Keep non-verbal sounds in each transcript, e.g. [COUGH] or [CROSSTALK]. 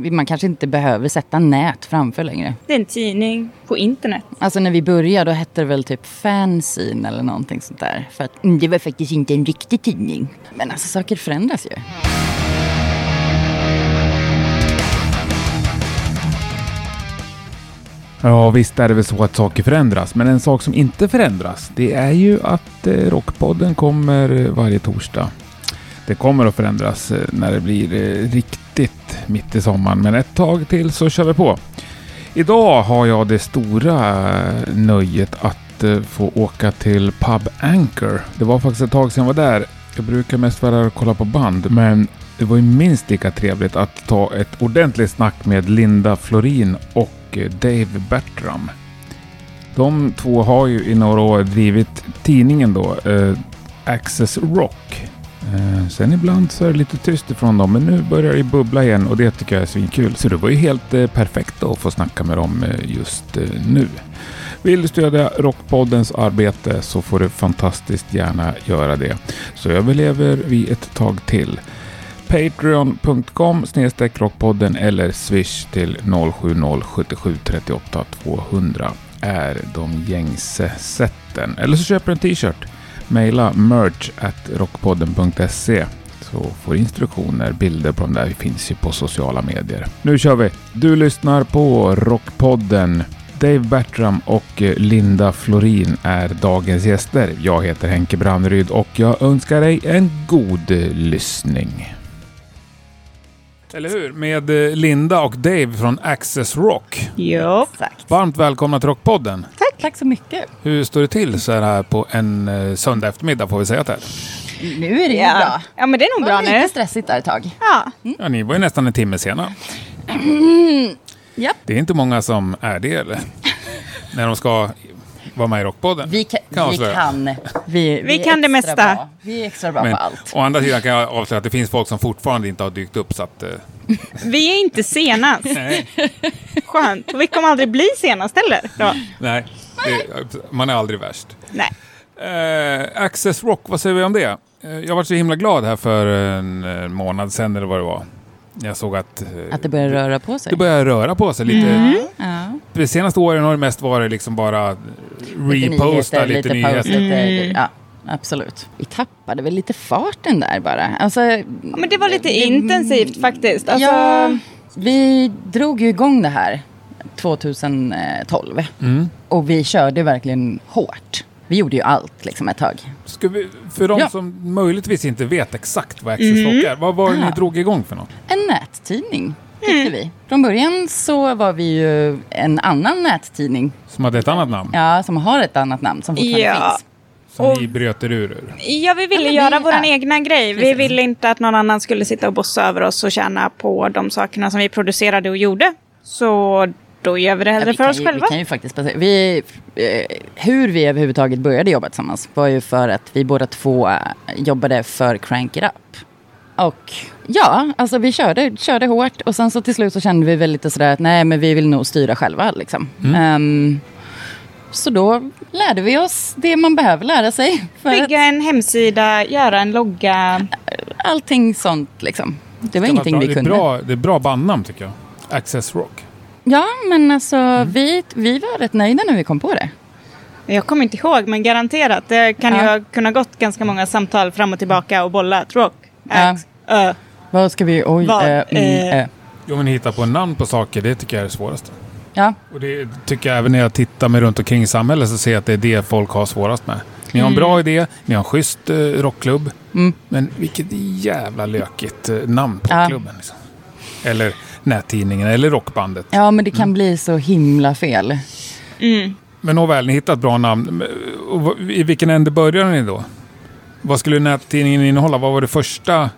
Man kanske inte behöver sätta nät framför längre. Det är en tidning på internet. Alltså när vi började då hette det väl typ fanzine eller någonting sånt där. För att mm, det var faktiskt inte en riktig tidning. Men alltså saker förändras ju. Ja, visst är det väl så att saker förändras, men en sak som inte förändras, det är ju att eh, Rockpodden kommer eh, varje torsdag. Det kommer att förändras eh, när det blir eh, riktigt mitt i sommaren, men ett tag till så kör vi på. Idag har jag det stora eh, nöjet att eh, få åka till Pub Anchor. Det var faktiskt ett tag sedan jag var där. Jag brukar mest vara där och kolla på band, men det var ju minst lika trevligt att ta ett ordentligt snack med Linda Florin och eh, Dave Bertram. De två har ju i några år drivit tidningen då, eh, Access Rock. Eh, sen ibland så är det lite tyst ifrån dem, men nu börjar det bubbla igen och det tycker jag är svinkul. Så det var ju helt eh, perfekt då att få snacka med dem eh, just eh, nu. Vill du stödja Rockpoddens arbete så får du fantastiskt gärna göra det. Så överlever vi ett tag till patreon.com snedstreck rockpodden eller swish till 070 77 38 200 är de gängse sätten. Eller så köper du en t-shirt. Maila merch at rockpodden.se så får instruktioner, bilder på de där. Vi finns ju på sociala medier. Nu kör vi! Du lyssnar på Rockpodden. Dave Bertram och eh, Linda Florin är dagens gäster. Jag heter Henke Brandryd och jag önskar dig en god lyssning. Eller hur? Med eh, Linda och Dave från Access Rock. Ja. Exakt. Varmt välkomna till Rockpodden. Tack. Tack så mycket. Hur står det till så här på en eh, söndag eftermiddag får vi säga till? Nu är det ju Ja. bra. ja, men det är nog Det bra var nu. lite stressigt där ett tag. Ja. Mm. Ja, ni var ju nästan en timme sena. Japp. Det är inte många som är [LAUGHS] det eller? När de ska vara med i Rockpodden. Vi, ka- jag vi avslöja. kan. Vi, Vi är kan det extra mesta. Bra. Vi är extra bra Men, på allt. å andra sidan kan jag avslöja att det finns folk som fortfarande inte har dykt upp så att... eh, Vi är inte senast. Nej. Skönt. Och vi kommer aldrig bli senast heller. Då. nej. Det, man är aldrig värst. Nej. Eh, Access Rock, vad säger vi om det? Eh, jag var så himla glad här för en eh, månad sedan eller vad det var. Jag såg att... eh, Att det börjar röra på sig. det börjar röra på sig lite. Ja. De senaste åren har det mest varit liksom bara reposta lite, nyheter. paus, Mm. lite- ja, absolut. Vi tappade väl lite farten där bara. Alltså, Ja, men det var lite intensivt faktiskt. Alltså, Mm. ja, vi drog ju igång det här 2012. Och vi körde verkligen hårt. Vi gjorde ju allt liksom ett tag. Ska vi, för de Ja. som möjligtvis inte vet exakt vad Access Rock är, vad var det ni Ah. drog igång för något? En nättidning tyckte vi. Från början så var vi ju en annan nättidning. Som hade ett annat namn, Ja, som har ett annat namn som fortfarande Ja. finns. som Och- ni bröt er ur ur. Ja, vi ville Ja, men göra vi- vår ja. egna grej. Vi Precis. ville inte att någon annan skulle sitta och bossa över oss och tjäna på de sakerna som vi producerade och gjorde. Så då gör vi det Ja, hellre vi, för kan oss ju, vi själva. kan ju faktiskt basera- vi, eh, Hur vi överhuvudtaget började jobba tillsammans var ju för att vi båda två eh, jobbade för Crank It Up. Och ja, alltså vi körde, körde hårt och sen så till slut så kände vi väl lite sådär att nej men vi vill nog styra själva liksom. Ehm, så då lärde vi oss det man behöver lära sig. För att Bygga en hemsida, göra en logga. allting sånt liksom. Det var Det ingenting var bra. vi Det är kunde. bra, det är bra bandnamn tycker jag. Access Rock. Ja, men alltså vi, vi var rätt nöjda när vi kom på det. Jag kommer inte ihåg, men garanterat. Det kan Ja. ju ha kunnat gått ganska många samtal fram och tillbaka och bollat. Rock, Ja. ax, ö. Vad ska vi... Oj, Vad, eh, mm, eh, eh. Jo men hitta på namn på saker, det tycker jag är det svåraste. Ja, Och det tycker jag även när jag tittar mig runt omkring i samhället så ser jag att det är det folk har svårast med. Ni har en bra idé, ni har en schysst eh, rockklubb. Men vilket jävla lökigt eh, namn på Ja. klubben. Liksom. Eller nättidningen, eller rockbandet. Ja, men det kan bli så himla fel. Mm. Men nåväl, ni hittat bra namn. Men, eh, och vad- I vilken ände började ni då? Vad skulle nättidningen innehålla? Vad var det första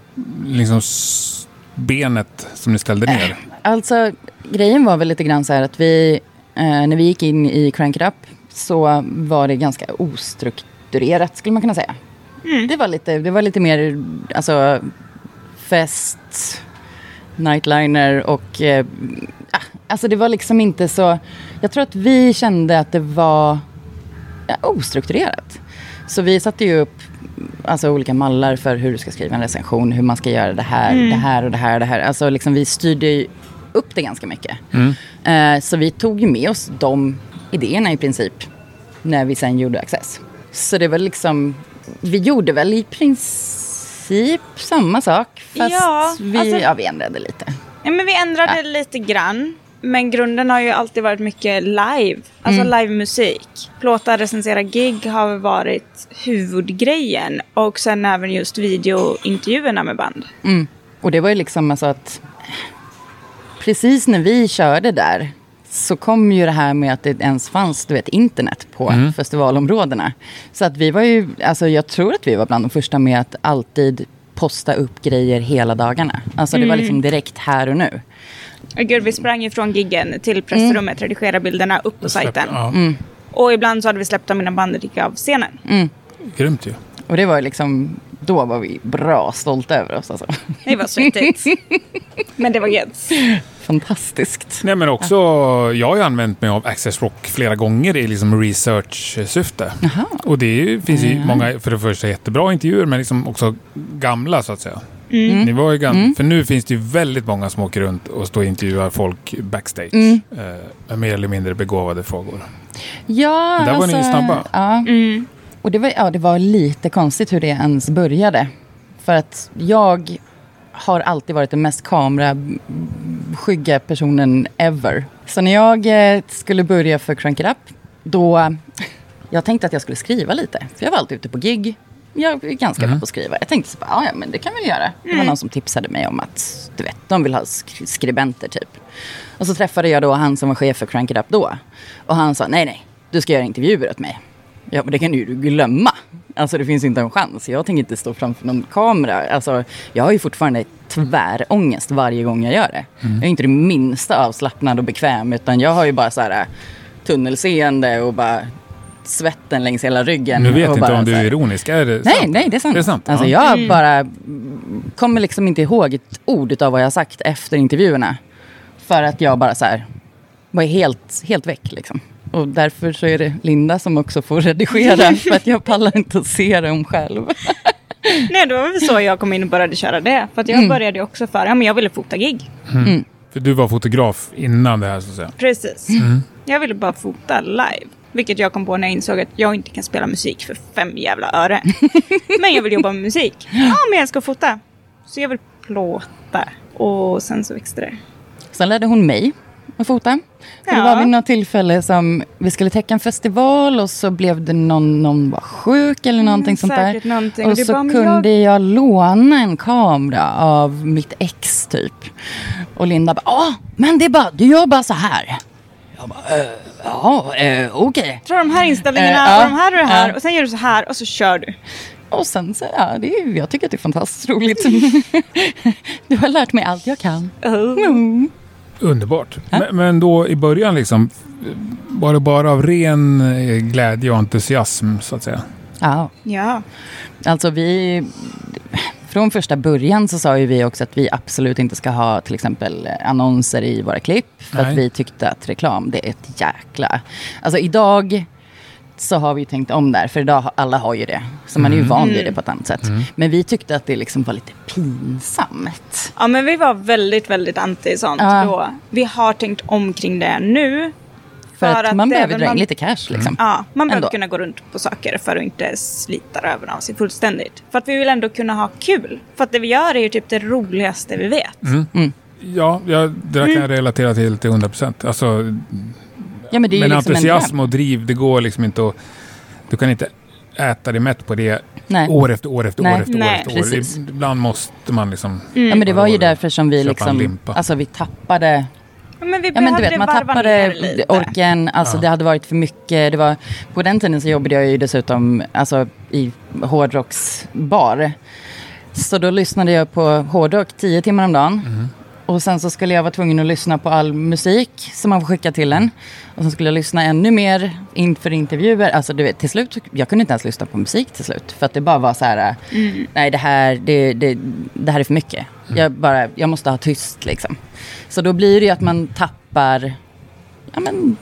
liksom, s- benet som ni ställde ner? Alltså, grejen var väl lite grann så här att vi, eh, när vi gick in i Crank It Up så var det ganska ostrukturerat skulle man kunna säga. Det, var lite, det var lite mer alltså, fest, nightliner och... Eh, ah, alltså det var liksom inte så... Jag tror att vi kände att det var ja, ostrukturerat. Så vi satte ju upp alltså, olika mallar Mm. för hur du ska skriva en recension, hur man ska göra det här, det här och det här. och Det här. Alltså, liksom, vi styrde ju upp det ganska mycket. Mm. Eh, Så vi tog ju med oss de idéerna i princip när vi sen gjorde Access. Så det var liksom, vi gjorde väl i princip samma sak fast Ja, vi, alltså- ja, vi ändrade lite. Ja, men vi ändrade lite grann. Men grunden har ju alltid varit mycket live. Alltså Mm. livemusik. Plåta, recensera gig har varit huvudgrejen. Och sen även just videointervjuerna med band. Mm. Och det var ju liksom alltså att precis när vi körde där så kom ju det här med att det ens fanns du vet, internet på festivalområdena. Så att vi var ju, alltså jag tror att vi var bland de första med att alltid posta upp grejer hela dagarna. Alltså det var liksom direkt här och nu. Och Gud, vi sprang ifrån giggen till Mm. pressrummet, redigerade bilderna, upp på sajten. Ja, Och ibland så hade vi släppt av mina band och gick av scenen. Grymt ju. Och det var ju liksom, då var vi bra stolta över oss alltså. Det [LAUGHS] var svettigt. men det var gött. Fantastiskt. Nej, men också, jag har ju använt mig av Access Rock flera gånger i liksom research-syfte. Och det är ju- finns ju många, för det första jättebra intervjuer, men liksom också gamla så att säga. Mm. Ni var ju gam- För nu finns det ju väldigt många som åker runt och står och intervjuar folk backstage. Mm. Eh, med mer eller mindre begåvade frågor. Ja, alltså, Men där var ni ju snabba. Ja. Och det var, ja, det var lite konstigt hur det ens började. För att jag har alltid varit den mest kameraskygga personen ever. Så när jag eh, skulle börja för Crank It Up, då... Jag tänkte att jag skulle skriva lite, för jag var alltid ute på gig. Jag är ganska bra på att skriva. Jag tänkte så bara, "Ah, ja men det kan jag väl göra. Det var någon som tipsade mig om att, du vet, de vill ha skri- skribenter typ. Och så träffade jag då han som var chef för Crank It Up då. Och han sa, nej nej, du ska göra intervjuer åt mig. Ja, men det kan ju du glömma. Alltså det finns inte en chans. Jag tänker inte stå framför någon kamera. Alltså, jag har ju fortfarande tvärångest varje gång jag gör det. Mm. Jag är inte det minsta avslappnad och bekväm utan jag har ju bara så här äh, tunnelseende och bara svetten längs hela ryggen. Nu vet och jag inte bara om du så är här- ironisk. Är det Nej, sant? nej, det är sant. Det är sant. Alltså, ja. jag bara mm, kommer liksom inte ihåg ett ord av vad jag har sagt efter intervjuerna. För att jag bara så här, var helt, helt väck liksom. Och därför så är det Linda som också får redigera. för att jag pallar inte att se dem själv. Nej, det var väl så jag kom in och började köra det. För att Mm. jag började ju också för, ja men jag ville fota gig. För du var fotograf innan det här så att säga. Precis. Mm. Jag ville bara fota live. Vilket jag kom på när jag insåg att jag inte kan spela musik för fem jävla [LAUGHS] öre. men jag vill jobba med musik. Ja, men jag ska fota. Så jag vill plåta. Och sen så växte det. Sen lärde hon mig att fota. För Det Ja. var vid något tillfälle som vi skulle täcka en festival och så blev det någon, någon var sjuk eller någonting sånt där. Mm, säkert någonting. Och Och du så bara, men kunde jag... låna en kamera av mitt ex typ. Och Linda bara, ja men det är bara, du gör bara så här. Jag bara, "Eh, ja eh, okej. Tror de här inställningarna Eh, ja. och de här och det här. Ja. Och sen gör du så här och så kör du. Och sen så, ja det är, ju- jag tycker att det är fantastiskt roligt. [LAUGHS] du har lärt mig allt jag kan. Mm. Underbart. Men, men då i början liksom, var det bara av ren eh, glädje och entusiasm så att säga? Ja. Ja. Alltså vi... Från första början så sa ju vi också att vi absolut inte ska ha till exempel annonser i våra klipp. För Nej. att vi tyckte att reklam, det är ett jäkla... Alltså idag så har vi ju tänkt om där, för idag har alla har ju det. Så man är ju Mm. van vid det på ett annat sätt. Men vi tyckte att det liksom var lite pinsamt. Ja men vi var väldigt, väldigt anti sånt Ja. då. Vi har tänkt om kring det nu. För, att, man det- behöver men dra in man- lite cash Mm. liksom. Ja, man behöver Ändå. kunna gå runt på saker för att inte slita röven av sig fullständigt. För att vi vill ändå kunna ha kul. För att det vi gör är ju typ det roligaste vi vet. Ja, jag, det där kan Mm. jag relatera till till 100 procent. Alltså, Ja, men det är men ju liksom en entusiasm dröm. och driv, det går liksom inte att... Du kan inte äta dig mätt på det Nej. år efter år efter Nej. år efter Nej, år. Efter år. precis. Mm. Ib- Ibland måste man liksom... Ja, men det Ja, var ju då- därför som vi köpa en liksom... limpa. Alltså vi tappade... Ja, men vi Ja men du behövde vet, man varva ner det tappade lite. orken, alltså det hade varit för mycket. Det var, på den tiden så jobbade jag ju dessutom alltså, i hårdrocksbar. Så då lyssnade jag på hårdrock tio timmar om dagen. Och sen så skulle jag vara tvungen att lyssna på all musik som man får skicka till en. Och sen skulle jag lyssna ännu mer inför intervjuer. Alltså du vet, till slut, jag kunde inte ens lyssna på musik till slut. För att det bara var så här, äh, Mm. nej det här, det, det, det här är för mycket. Mm. Jag, bara, jag måste ha tyst liksom. Så då blir det ju att man tappar ja, men,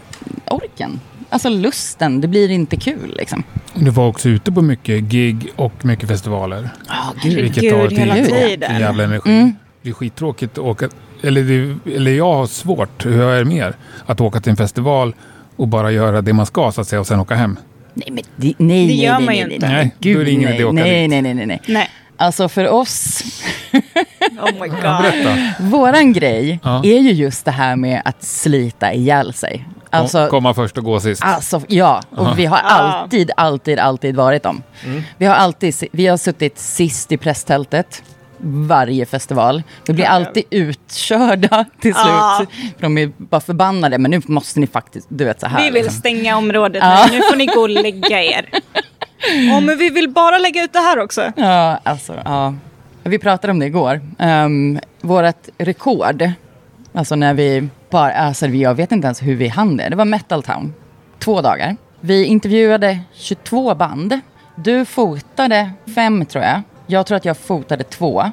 orken. Alltså lusten, det blir inte kul liksom. Du var också ute på mycket gig och mycket festivaler. Oh, Herregud, Vilket tar ett hela helt- tiden. en jävla energi. Det är skittråkigt att åka eller, det, eller jag har svårt, hur jag är med er, att åka till en festival och bara göra det man ska så att säga och sen åka hem. Nej, men det, nej, Det nej, gör nej, man nej, ju nej, inte. nej. Nej, då är det ingen idé att åka nej, dit. nej, nej, nej, nej. Nej. Alltså för oss, Oh my god. Berätta. våran grej Ja. är ju just det här med att slita ihjäl sig. Alltså, Komma först och gå sist. Alltså, ja. Och vi har Ah. alltid, alltid, alltid varit dem. Vi har alltid, vi har suttit sist i presstältet varje festival. Vi blir alltid utkörda [LAUGHS] till slut. Ah. För de är bara förbannade. Men nu måste ni faktiskt, du vet så här. Vi vill liksom. stänga området Ja. nu. Nu får ni gå och lägga [LAUGHS] er. Åh, men vi vill bara lägga ut det här också. Ja, alltså, ja. Vi pratade om det igår. Um, vårt rekord, alltså när vi bara, alltså jag vet inte ens hur vi hann det. Det var Metal Town, två dagar. Vi intervjuade 22 band. Du fotade fem tror jag. Jag tror att jag fotade två.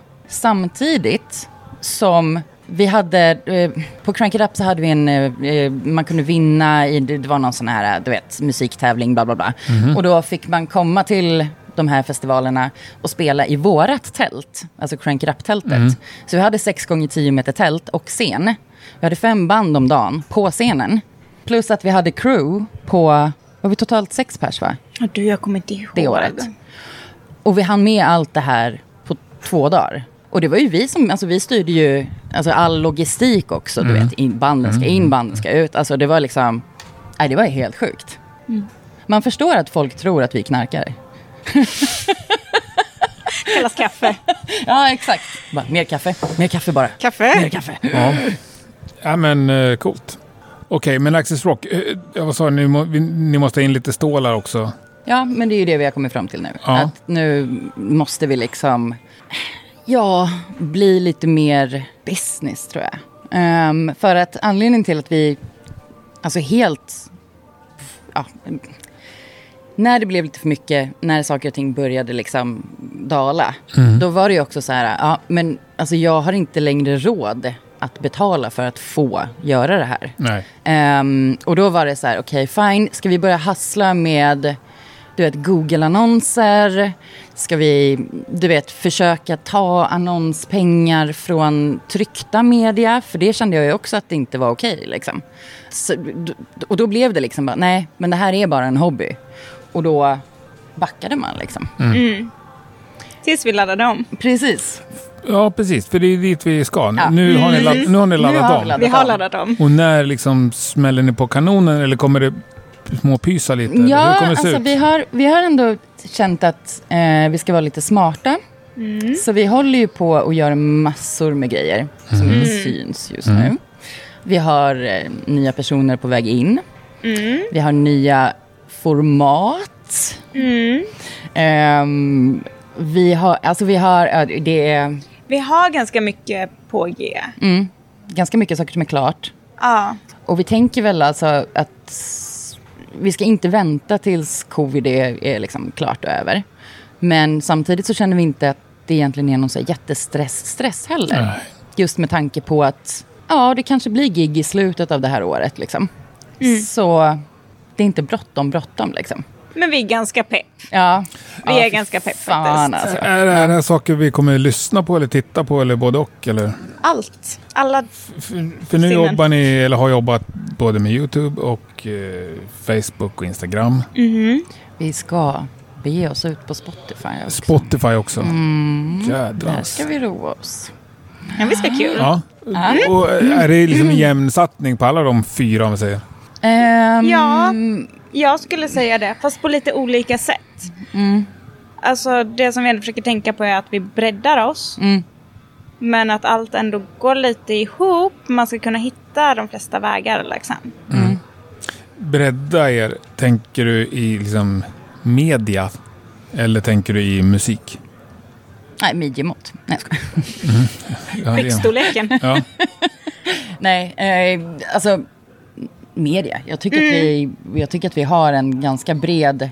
Samtidigt som vi hade, eh, på Crank It Up så hade vi en, eh, eh, man kunde vinna i, det var någon sån här, eh, du vet, musiktävling, bla bla bla. Och då fick man komma till de här festivalerna och spela i vårat tält, alltså Crank It Up-tältet. Så vi hade 6 gånger 10 meter tält och scen. Vi hade fem band om dagen på scenen. Plus att vi hade crew på, var vi totalt sex pers va? Ja, Du, jag kommer inte ihåg. det året. Och vi hann med allt det här på två dagar. Och det var ju vi som, alltså vi styrde ju alltså all logistik också. Du vet, in, banden ska in, banden ska ut. Alltså det var liksom, nej det var helt sjukt. Man förstår att folk tror att vi knarkar. Kallas kaffe. Ja, exakt. Bara, mer kaffe, mer kaffe bara. Mer [LAUGHS] Kaffe? kaffe. Ja. ja, men eh, coolt. Okej, men Axis Rock, eh, ja, vad sa ni, Ni må- vi- ni måste ha in lite stålar också. Ja, men det är ju det vi har kommit fram till nu. Ja. Att nu måste vi liksom, ja, bli lite mer business tror jag. Ehm, för att anledningen till att vi, alltså helt, ja, när det blev lite för mycket, när saker och ting började liksom dala, då var det ju också så här, ja, men alltså jag har inte längre råd att betala för att få göra det här. Nej. Ehm, och då var det så här, okej fine, ska vi börja hassla med du vet, Google-annonser? Ska vi, du vet, försöka ta annonspengar från tryckta media? För det kände jag ju också att det inte var okej. liksom. Så, d- och då blev det liksom bara, nej, men det här är bara en hobby. Och då backade man liksom. Tills vi laddade om. Precis. Ja, precis, för det är dit vi ska. Ja. Nu, har ni ladd, nu har ni laddat har vi om. laddat. Vi har laddat om. Och när liksom smäller ni på kanonen eller kommer det småpysa lite? eller Ja, Hur kommer det se alltså ut? vi har, vi har ändå känt att eh, vi ska vara lite smarta. Så vi håller ju på och gör massor med grejer som Mm. inte syns just nu. Vi har eh, nya personer på väg in. Vi har nya format. Ehm, vi har, alltså vi har, ja, det är Vi har ganska mycket på G. ganska mycket saker som är klart. Ja. Och vi tänker väl alltså att vi ska inte vänta tills covid är, är liksom klart över. Men samtidigt så känner vi inte att det egentligen är någon så här jättestress-stress heller. Nej. Just med tanke på att ja, det kanske blir gig i slutet av det här året. Liksom. Mm. Så det är inte bråttom, bråttom. Liksom. Men vi är ganska pepp. Ja. Vi ja, fy är ganska pepp fan, faktiskt. Alltså. Är det här saker vi kommer lyssna på eller titta på eller både och? Eller? Allt. Alla... För, för nu Sinnen. jobbar ni, eller har jobbat både med YouTube och eh, Facebook och Instagram. Vi ska bege oss ut på Spotify. Också. Spotify också. Mm. Där Jädrans. ska vi roa oss. Ja, vi ska ha kul. Ja. Och eh, är det liksom Mm. en jämn satsning på alla de fyra om vi säger? Ehm, Ja, jag skulle säga det. Fast på lite olika sätt. Mm. Alltså det som vi ändå försöker tänka på är att vi breddar oss. Mm. Men att allt ändå går lite ihop. Man ska kunna hitta de flesta vägar liksom. Bredda er, tänker du i liksom media? Eller tänker du i musik? Nej, midjemått. Nej, jag skojar. Ja, det- Prickstorleken. [LAUGHS] Ja. Nej, eh, alltså media. Jag tycker, Mm. att vi, jag tycker att vi har en ganska bred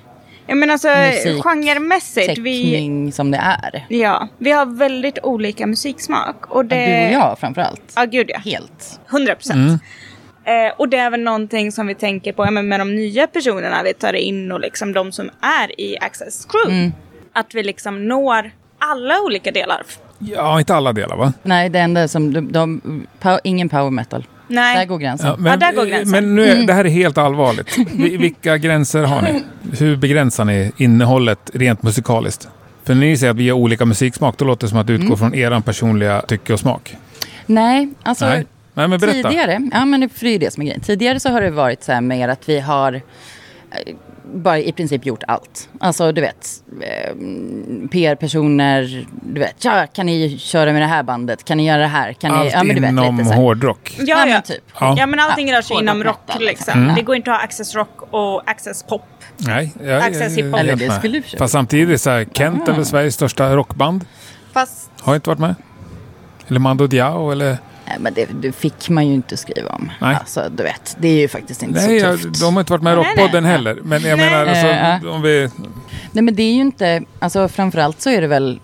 Ja men alltså Musik, genremässigt. Vi, täckning som det är. ja, vi har väldigt olika musiksmak. Och det, Du och jag framförallt. Ja gud ja. Helt. 100 procent. Mm. Eh, och det är väl någonting som vi tänker på ja, men med de nya personerna vi tar in och liksom Mm. de som är i Access Crew. Att vi liksom når alla olika delar f- Ja, inte alla delar va? Nej, det enda som... De, de, pow, ingen power metal. Där Nej. går gränsen. Ja, där går gränsen. Men nu, är- det här är helt allvarligt. Vi- Vilka gränser har ni? Hur begränsar ni innehållet rent musikaliskt? För när ni säger att vi har olika musiksmak, då låter det som att det utgår från er personliga tycke och smak. Nej, alltså... Nej. Nej, men berätta. Tidigare, ja men det- för det är ju det som är grejen. Tidigare så har det varit så här mer att vi har eh, bara i princip gjort allt. Alltså du vet, eh, PR-personer, du vet, ja, kan ni köra med det här bandet? Kan ni göra det här? Kan ni, Allt ja, men du vet, inom lite så här. hårdrock. Ja, Ja, men ja. typ. Ja. Ja, men allting rör sig Ja, inom hårdrock, rock metal, liksom. liksom. Det går inte att ha access rock och access pop. Nej, jag, jag, Access hiphop. jag, jag, Eller jag, det skulle Ah. i och för sig- Fast samtidigt, så här, Kent är väl Sveriges största rockband. Fast Har inte varit med. Eller Mando Diao eller... Nej, men det, det fick man ju inte skriva om. Nej. Alltså du vet, det är ju faktiskt inte Nej, så jag, tufft. de har inte varit med i Nej, Rockpodden nej. heller. Men jag Nej. menar, Eh, alltså, om vi... Nej men det är ju inte, alltså framförallt så är det väl,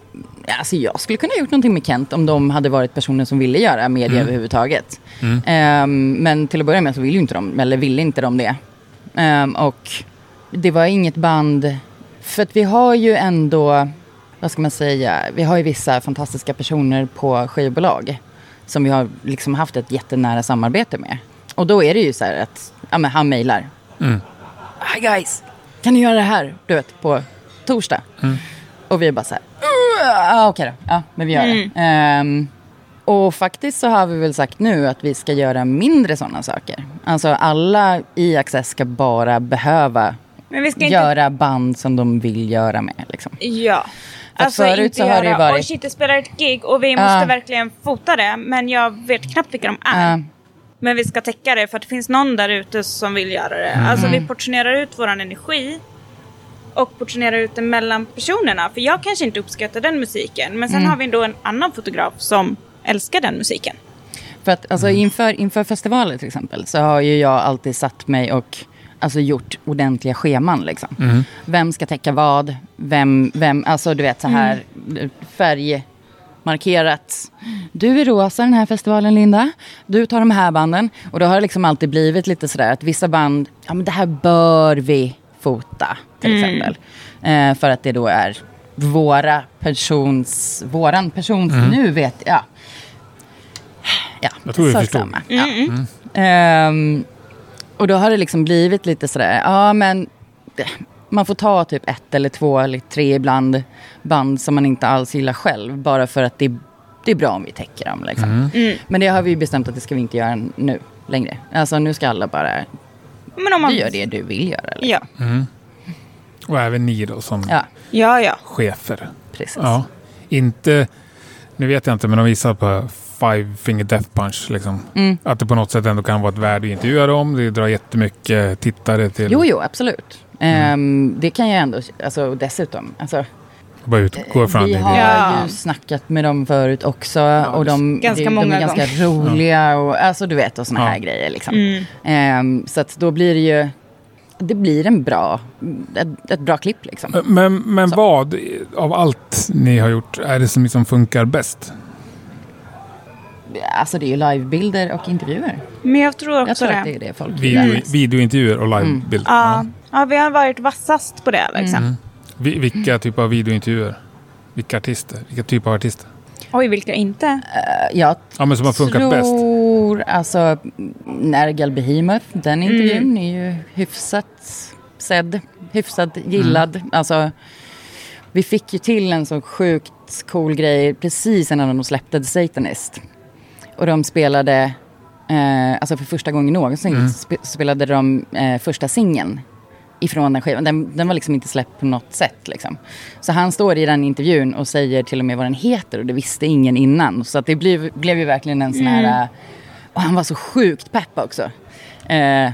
alltså jag skulle kunna ha gjort någonting med Kent om de hade varit personer som ville göra media överhuvudtaget. Ehm, men till att börja med så vill ju inte de, eller ville inte de det. Ehm, och det var inget band, för att vi har ju ändå, vad ska man säga, vi har ju vissa fantastiska personer på skivbolag som vi har liksom haft ett jättenära samarbete med. Och då är det ju så här att, ja men han mejlar, Hi guys, kan ni göra det här? Du vet, på torsdag. Mm. Och vi är bara så här, "Uh, ah, okej då. Ja, men vi gör Mm. det. Ehm, och faktiskt så har vi väl sagt nu att vi ska göra mindre sådana saker. Alltså alla i Access ska bara behöva Men vi ska inte- göra band som de vill göra med. Liksom. Ja. Alltså, att förut inte så har det ju göra, varit- Ah. Oj shit, jag spelar ett gig och vi måste verkligen fota det. Men jag vet knappt vilka de är. Ja. Men vi ska täcka det för att det finns någon där ute som vill göra det. Mm. Alltså vi portionerar ut våran energi. Och portionerar ut den mellan personerna. För jag kanske inte uppskattar den musiken. Men sen Mm. har vi ändå en annan fotograf som älskar den musiken. För att alltså, inför, inför festivaler till exempel så har ju jag alltid satt mig och alltså, gjort ordentliga scheman. Liksom. Vem ska täcka vad? Vem, vem, alltså du vet så här färgmarkerat. Du är rosa den här festivalen Linda. Du tar de här banden. Och då har det liksom alltid blivit lite sådär att vissa band, ja men det här bör vi fota till exempel. Eh, för att det då är våra persons, våran persons, nu vet jag. Ja, Jag tror vi sak förstod. samma. Ja. Ehm, och då har det liksom blivit lite sådär, ja men det- man får ta typ ett eller två eller tre ibland band som man inte alls gillar själv, bara för att det, det är bra om vi täcker dem. Liksom. Mm. Men det har vi ju bestämt att det ska vi inte göra nu längre. Alltså nu ska alla bara, Men om man... du gör det du vill göra. Liksom. Ja. Och även ni då som Ja, Ja, ja. chefer. precis. Ja. Inte... Nu vet jag inte, men de visar på Five Finger Death Punch. Liksom. Mm. Att det på något sätt ändå kan vara ett värde att intervjua dem. Det drar jättemycket tittare till... Jo, jo, absolut. Mm. Ehm, det kan jag ändå, alltså och dessutom, alltså, Bara utgår från Vi det. har Ja. ju snackat med dem förut också. och de, Ganska de, de många är ganska roliga och alltså, du vet, och såna Ja. här grejer. Liksom. Mm. Ehm, så att då blir det ju... Det blir en bra, ett, ett bra klipp liksom. Men, men vad av allt ni har gjort är det som liksom funkar bäst? Alltså det är ju livebilder och intervjuer. Men jag tror också Jag tror det. att det är det folk gillar Video, mest. videointervjuer och Mm. livebilder? Ah. Ja. ja, vi har varit vassast på det liksom. Vi- Vilka typer av videointervjuer? Vilka artister? Vilka typer av artister? Oj, vilka inte? Jag Ja, men som har funkat bäst. tror, alltså, Nergal Behemoth, den Mm. intervjun är ju hyfsat sedd, hyfsat gillad. Mm. Alltså, vi fick ju till en så sjukt cool grej precis innan de släppte The Satanist. Och de spelade, eh, alltså för första gången någonsin, Mm. sp- spelade de eh, första singeln ifrån den skivan. Den, den var liksom inte släppt på något sätt. Liksom. Så han står i den intervjun och säger till och med vad den heter och det visste ingen innan. Så att det blev, blev ju verkligen en sån Mm. här... eh, Och han var så sjukt pepp också. Eh,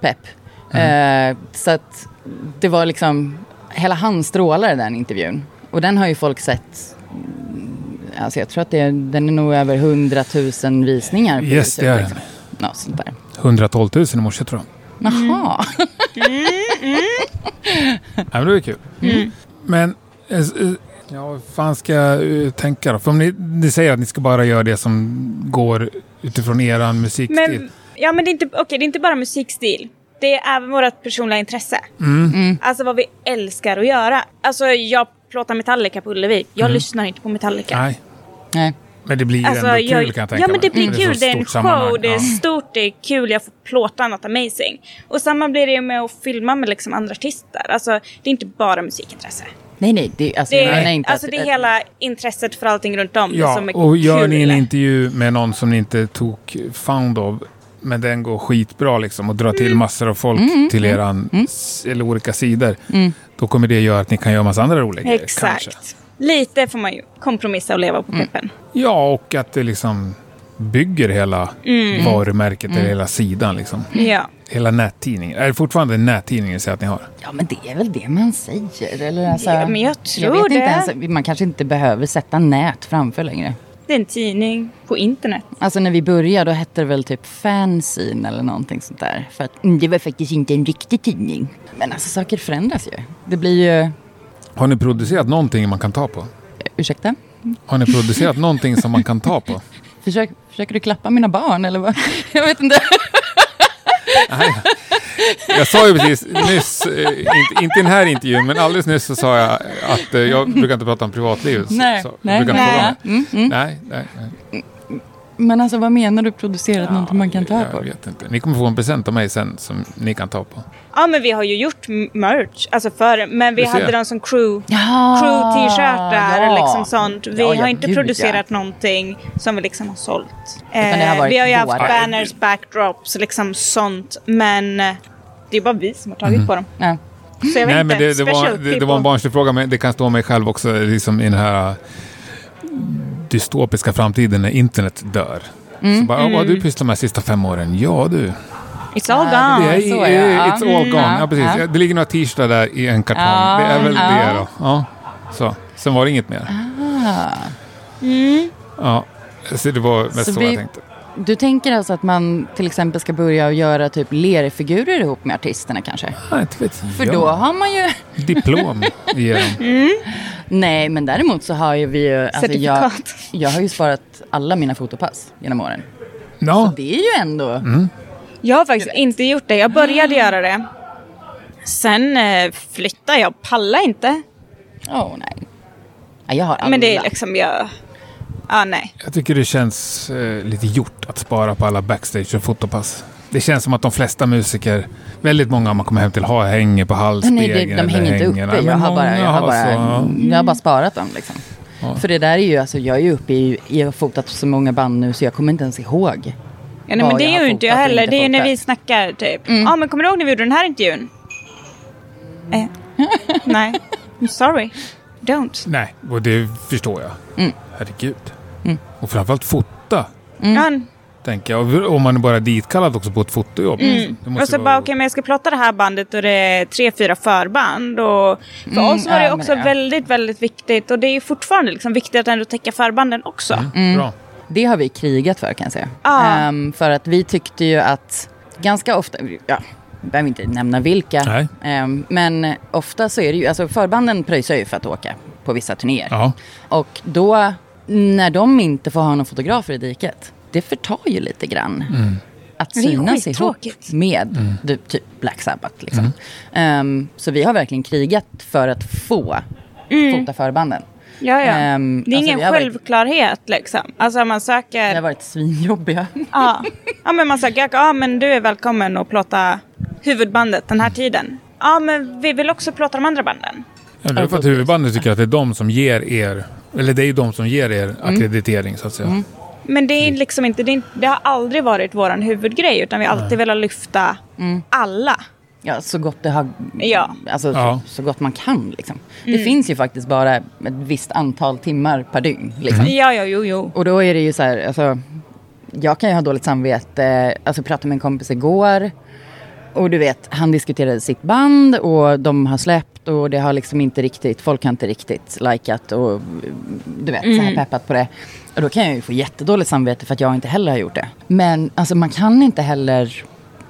pepp. Mm. Eh, så att det var liksom... Hela han strålar i den intervjun. Och den har ju folk sett... mm, Alltså jag tror att det, är- den är nog över 100 000 visningar. på Yes, det YouTube, är liksom. Något sånt där. 112 000 i morse tror jag. Jaha. Mm. Ja, men det var kul. Mm. Men, eh, eh, ja, vad fan ska jag eh, tänka då? För om ni, ni säger att ni ska bara göra det som går utifrån eran musikstil. Men, ja, men det är, inte, okej, det är inte bara musikstil. Mm. Mm. Det är även vårt personliga intresse. Alltså vad vi älskar att göra. Alltså jag plåta Metallica på Ullevi. Jag lyssnar inte på Metallica. Mm. Nej, [LAUGHS] Nej. men det blir ju Alltså, ändå jag- kul kan jag tänka Ja men mig. det blir Mm. kul. så Det är en stort show, sammanhang. det är Ja. stort, det är kul, jag får plåta något amazing. Och samma blir det ju med att filma med liksom andra artister. Alltså det är inte bara musikintresse. Nej, nej. Det, alltså, Det jag är, menar inte alltså, att, det är hela intresset för allting runt om Ja, som är och gör kul. ni en intervju med någon som ni inte tog found av, men den går skitbra liksom och drar till Mm. massor av folk till eran, s- eller olika sidor, då kommer det göra att ni kan göra massa andra roliga grejer. Exakt. kanske. Lite får man ju kompromissa och leva på Mm. peppen. Ja, och att det liksom bygger hela Mm. varumärket eller hela sidan liksom. Ja. Hela nättidningen. Är det fortfarande nättidningen säger att ni har? Ja, men det är väl det man säger. Eller, alltså, Ja, men jag tror vet det. Inte ens, man kanske inte behöver sätta nät framför längre. Det är en tidning på internet. Alltså när vi började då hette det väl typ fanzine eller någonting sånt där. För att mm, det var faktiskt inte en riktig tidning. Men alltså saker förändras ju. Det blir ju, eh, Har ni producerat någonting man kan ta på? ursäkta? Har ni [LAUGHS] producerat någonting som man kan ta på? Försök, försöker du klappa mina barn eller vad? [LAUGHS] Jag vet inte. Jag sa ju precis nyss, eh, inte, inte i den här intervjun, men alldeles nyss så sa jag att eh, jag brukar inte prata om privatlivet. så- Nej, så, jag nej, brukar inte nej. fråga om det. Mm, mm. nej, nej, nej. Men alltså vad menar du producerat någonting man kan ta jag, på? Jag vet inte. Ni kommer få en present av mig sen som ni kan ta på. Ja men vi har ju gjort m- merch, alltså för, men vi Du ser. hade den som crew. Ja, Crew-t-shirtar, ja. liksom sånt. Vi Ja, ja, har inte gud, ja. producerat någonting som vi liksom har sålt. det har Eh, varit vi har ju haft våra. banners, backdrops, liksom sånt. Men eh, det är bara vi som har tagit på dem. Ja. Så jag vet Mhm. Nej, inte. men det, det, var, Special det, det var en people. barnslig fråga, men det kan stå mig själv också liksom i den här dystopiska framtiden när internet dör. Så Mm. bara, vad har du pysslat med de sista fem åren? Ja du, It's all Ja, gone. det är, så är det. Ja. it's all gone. Ja, Ja, precis. ja. Ja, Det ligger några t-shirtar där i en kartong. Ja, det är väl ja. det då. Ja. Så. Sen var det inget mer. Ja. Så det var mest Ah. Mm. Så så, vi- jag tänkte. Du tänker alltså att man till exempel ska börja och göra typ lerfigurer ihop med artisterna kanske? Nej, inte vet För jag. då har man ju... Diplom [LAUGHS] igenom. Nej, men däremot så har ju vi ju... Alltså jag, Certifikat. jag har ju sparat alla mina fotopass genom åren. Ja, Det är ju ändå... Mm. Jag har faktiskt inte gjort det. Jag började göra det. Sen eh, flyttade jag. Pallade inte. Åh, nej. Ja, jag har alla. Men det är liksom jag... Ja, nej. jag tycker det känns eh, lite gjort att spara på alla backstage och fotopass. Det känns som att de flesta musiker, väldigt många man kommer hem till, har hänger på halsspegeln. Nej, det, de eller hänger inte hängen. uppe. Ja, alltså- men Jag har, bara, många jag, har bara, Mm. så. jag har bara sparat dem. Liksom. För det där är ju, alltså, jag är ju uppe i, jag har fotat så många band nu så jag kommer inte ens ihåg. Ja, nej vad men det jag är har ju inte jag fotat och heller. inte Mm. Det är ju när vi fotat. snackar typ. Ja, men kommer du ihåg när vi gjorde den här intervjun? Mm. Eh, nej. I'm sorry. Don't. Nej, och det förstår jag. Mm. Herregud. Och framförallt fota, Mm. Ja, tänker jag. Om man är bara ditkallad också på ett fotojobb. Mm. Det måste och så vara- Alltså, bara, okej, men jag ska plotta det här bandet och det är tre, fyra förband. Och för oss var Mm, ja, det men också det, ja. väldigt, väldigt viktigt. Och det är ju fortfarande liksom viktigt att ändå täcka förbanden också. Mm. Bra. Det har vi krigat för kan jag säga. Ah. Ehm, för att vi tyckte ju att ganska ofta, ja, jag behöver inte nämna vilka, Nej. Ehm, men ofta så är det ju, alltså förbanden pröjsar ju för att åka på vissa turnéer. Ja. Och då, när de inte får ha någon fotografer i diket, det förtar ju lite grann. Mm. Att Men det är synas ihop skittråkigt. med du, typ Black Sabbath. Liksom. Mm. Ehm, så vi har verkligen krigat för att få Mm. fota förbanden. Ja, ja. Ehm, det är alltså, ingen vi har varit- självklarhet liksom. Alltså man Det har söker... varit svinjobbiga. Ja. ja, men man söker... Ja, men du är välkommen att plåta huvudbandet den här tiden. Ja, men vi vill också plåta de andra banden. Ja, Det är för att huvudbandet tycker att det är de som ger er, eller det är ju de som ger er Mm. ackreditering så att säga. Men det är liksom inte... Det, är, inte- det har aldrig varit vår huvudgrej, utan vi har alltid velat lyfta Mm. alla. Ja, så gott det har... Ja. Alltså, Ja. Så, så gott man kan. Liksom. Det finns ju faktiskt bara ett visst antal timmar per dygn. Liksom. Ja, ja, jo, jo. Och då är det ju så här, alltså, jag kan ju ha dåligt samvete. Alltså jag pratade med en kompis igår. Och du vet, han diskuterade sitt band och de har släppt och det har liksom inte riktigt, folk har inte riktigt likat och du vet, så här peppat på det. Och då kan jag ju få jättedåligt samvete för att jag inte heller har gjort det. Men alltså man kan inte heller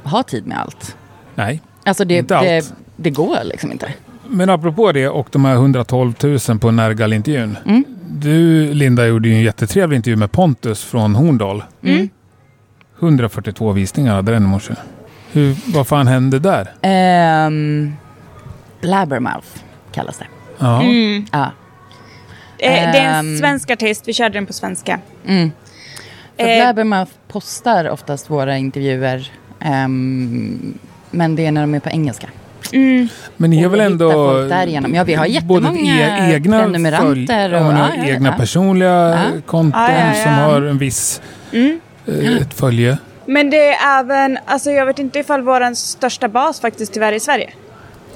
ha tid med allt. Nej. Alltså det, Inte allt. det, det går liksom inte. Men apropå det och de här 112 000 på Nergal-intervjun. Mm. Du Linda gjorde ju en jättetrevlig intervju med Pontus från Horndal. Mm. 142 visningar hade den i morse. Hur, vad fan hände där? Ehm, blabbermouth kallas det. Ja. Mm. Ja. Eh, det är Ehm. en svensk artist, vi körde den på svenska. För Eh. Blabbermouth postar oftast våra intervjuer. ehm, men det är när de är på engelska. Men ni har Och väl vi ändå... hittar folk därigenom. Ja, vi har jättemånga både e- egna prenumeranter följ- och- ja, men ja, ja, egna ja. personliga eh, Ja. Mm. konton Ja, ja, ja. som har en viss... eh, Ett följe. Men det är även, alltså jag vet inte ifall vår största bas faktiskt tyvärr är i Sverige.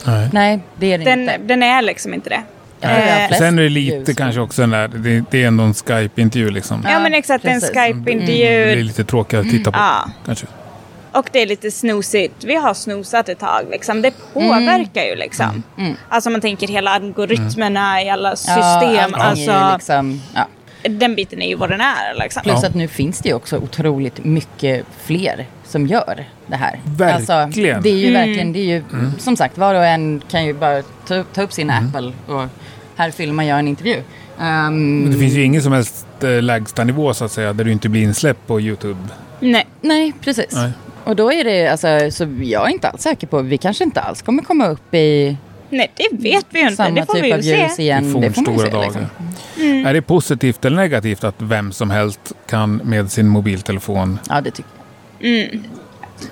Nej. Nej, det är det Den, inte. den är liksom inte det. Jag tror vi har eh, flest Sen är det lite views. kanske också den där, det, det är ändå en Skype-intervju liksom. Ja, men exakt, det är en precis. Det Skype-intervju. är lite tråkigt att titta på Mm. Ja. kanske. Och det är lite snosigt. Vi har snosat ett tag. Liksom. Det påverkar ju liksom. Mm, Alltså man tänker hela algoritmerna i alla system. allting är ju alltså, liksom, ja. Den biten är ju vad den är. Liksom. Plus Ja. att nu finns det ju också otroligt mycket fler som gör det här. Verkligen. Mm. Alltså, det är ju Mm. verkligen, det är ju som sagt var och en kan ju bara ta, ta upp sin Apple och här filmar jag en intervju. Ehm, Det finns ju ingen som helst eh, lägsta nivå så att säga, där du inte blir insläppt på YouTube. Nej. Nej, precis. Nej. Och då är det alltså, så jag är inte alls säker på, vi kanske inte alls kommer komma upp i Nej, det vet vi ju inte. samma det får typ vi av ju se. views igen. Det får man ju se. Liksom. Mm. Är det positivt eller negativt att vem som helst kan med sin mobiltelefon... Ja, det tycker jag.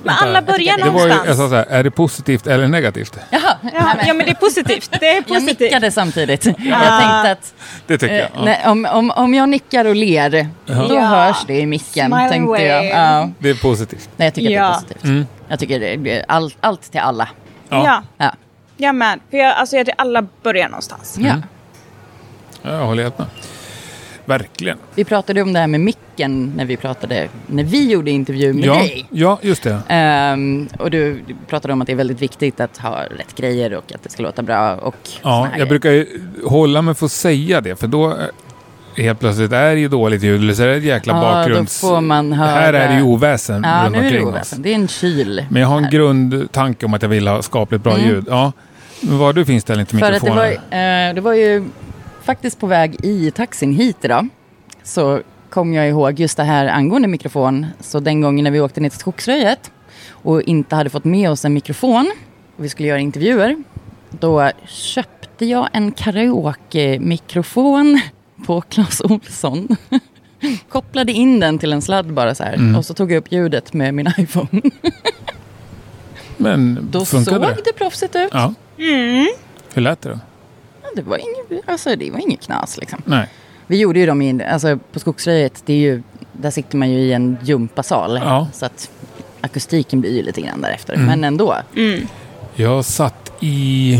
Men alla börjar Det var ju, någonstans. jag sa så här, är det positivt eller negativt? Jaha, ja, ja, men det är positivt. Det [LAUGHS] är jag positivt. nickade samtidigt. Jag tänkte att Det tycker jag. Eh, Ja. nej, om, om, om jag nickar och ler, då Ja. hörs det i micken, Smile tänkte away. jag. Ja. Det är positivt. Nej, jag tycker att det Ja. är positivt. Mm. Jag tycker det blir allt, allt till alla. Ja. Ja, Ja. jag med. För jag, alltså, jag tror alla börjar någonstans. Ja. Ja, Jag håller helt med. Verkligen. Vi pratade om det här med micken när vi pratade, när vi gjorde intervju med Ja, dig. ja, just det. Ehm, och du pratade om att det är väldigt viktigt att ha rätt grejer och att det ska låta bra och såna Ja, här jag grejer. brukar ju hålla mig för att säga det, för då eh, helt plötsligt är det ju dåligt ljud, eller så är det ett jäkla bakgrunds... Ja, då får man höra. Här är det ju oväsen Ja, runt nu är det omkring oväsen. oss. Det är en kyl. Men jag har en grundtanke om att jag vill ha skapligt bra ljud. Ja. Men vad har du för inställning till Mm. För att det mikrofonen? var, eh, det var ju faktiskt på väg i taxin hit idag. Så kom jag ihåg just det här angående mikrofon. Så den gången när vi åkte ner till Skogsröjet och inte hade fått med oss en mikrofon och vi skulle göra intervjuer. Då köpte jag en karaoke-mikrofon på Clas Ohlson. [LAUGHS] Kopplade in den till en sladd bara så här. Mm. Och så tog jag upp ljudet med min [LAUGHS] iPhone. Men Då funkade såg det? det? proffsigt ut. Ja. Hur lät det då? Det, var inget, alltså, det var inget knas liksom. Nej. Vi gjorde ju dem i, alltså på Skogsröjet, det är ju, där sitter man ju i en gympasal. Ja. Så att akustiken blir ju lite grann därefter. Men ändå. Jag satt i...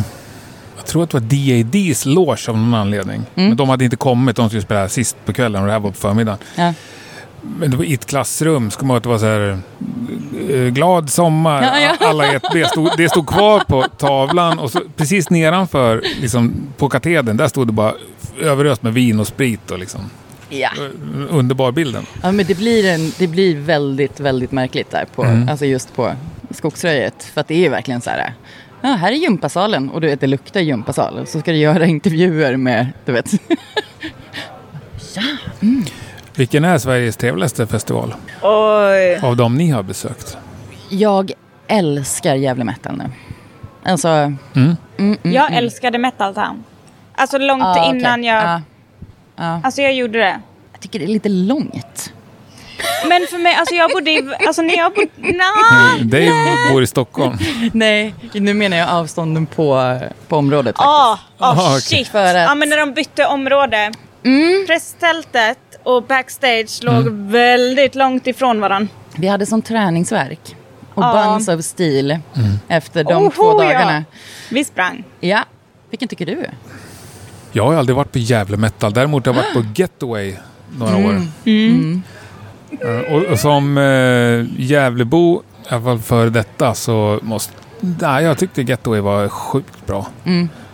Jag tror att det var DADs loge av någon anledning. Mm. Men de hade inte kommit. De skulle spela sist på kvällen och det här var på förmiddagen. Ja. Men det var i ett klassrum. Så kommer jag ihåg att det var så här... eh, Glad sommar. Ja, ja. Alla i ett B. Stod, det stod kvar på tavlan. Och så, precis nedanför, liksom, på katedern, där stod det bara överöst med vin och sprit. Och liksom. Ja. Eh, Underbar bilden. ja, men det blir, en, det blir väldigt, väldigt märkligt där på, alltså just på Skogsröjet. För att det är ju verkligen så här, ja, här är gympasalen och du vet det luktar gympasal. Och så ska du göra [LAUGHS] intervjuer med, du vet. Vilken är Sveriges trevligaste festival? Oj. Av de ni har besökt? [LAUGHS] Jag älskar Gävle Metal nu. Alltså, jag älskade Metal Town. Alltså långt ja, mm. Ah, okej. innan jag... Ja, Alltså jag gjorde det. jag tycker det är lite långt. Men för mig, alltså jag bodde i... Alltså när [LAUGHS] jag bodde... Nja. Dave bor i Stockholm. Nej, nu menar jag avstånden på, på området. faktiskt. Ja, oh, Ah, okej. shit. För att- Mm. Ja, men när de bytte område. Presstältet och backstage Mm. låg väldigt långt ifrån varandra. Vi hade som träningsverk och Ja. Buns of Steel Mm. efter de Oho, två dagarna. Vi sprang. Ja. Vilken tycker du? Jag har ju aldrig varit på Gävle Metal. Däremot har jag varit på Getaway några år. Eh, Och, och som eh, Gävlebo, i alla fall före detta, så måste... Nej, jag tyckte Getaway var sjukt bra.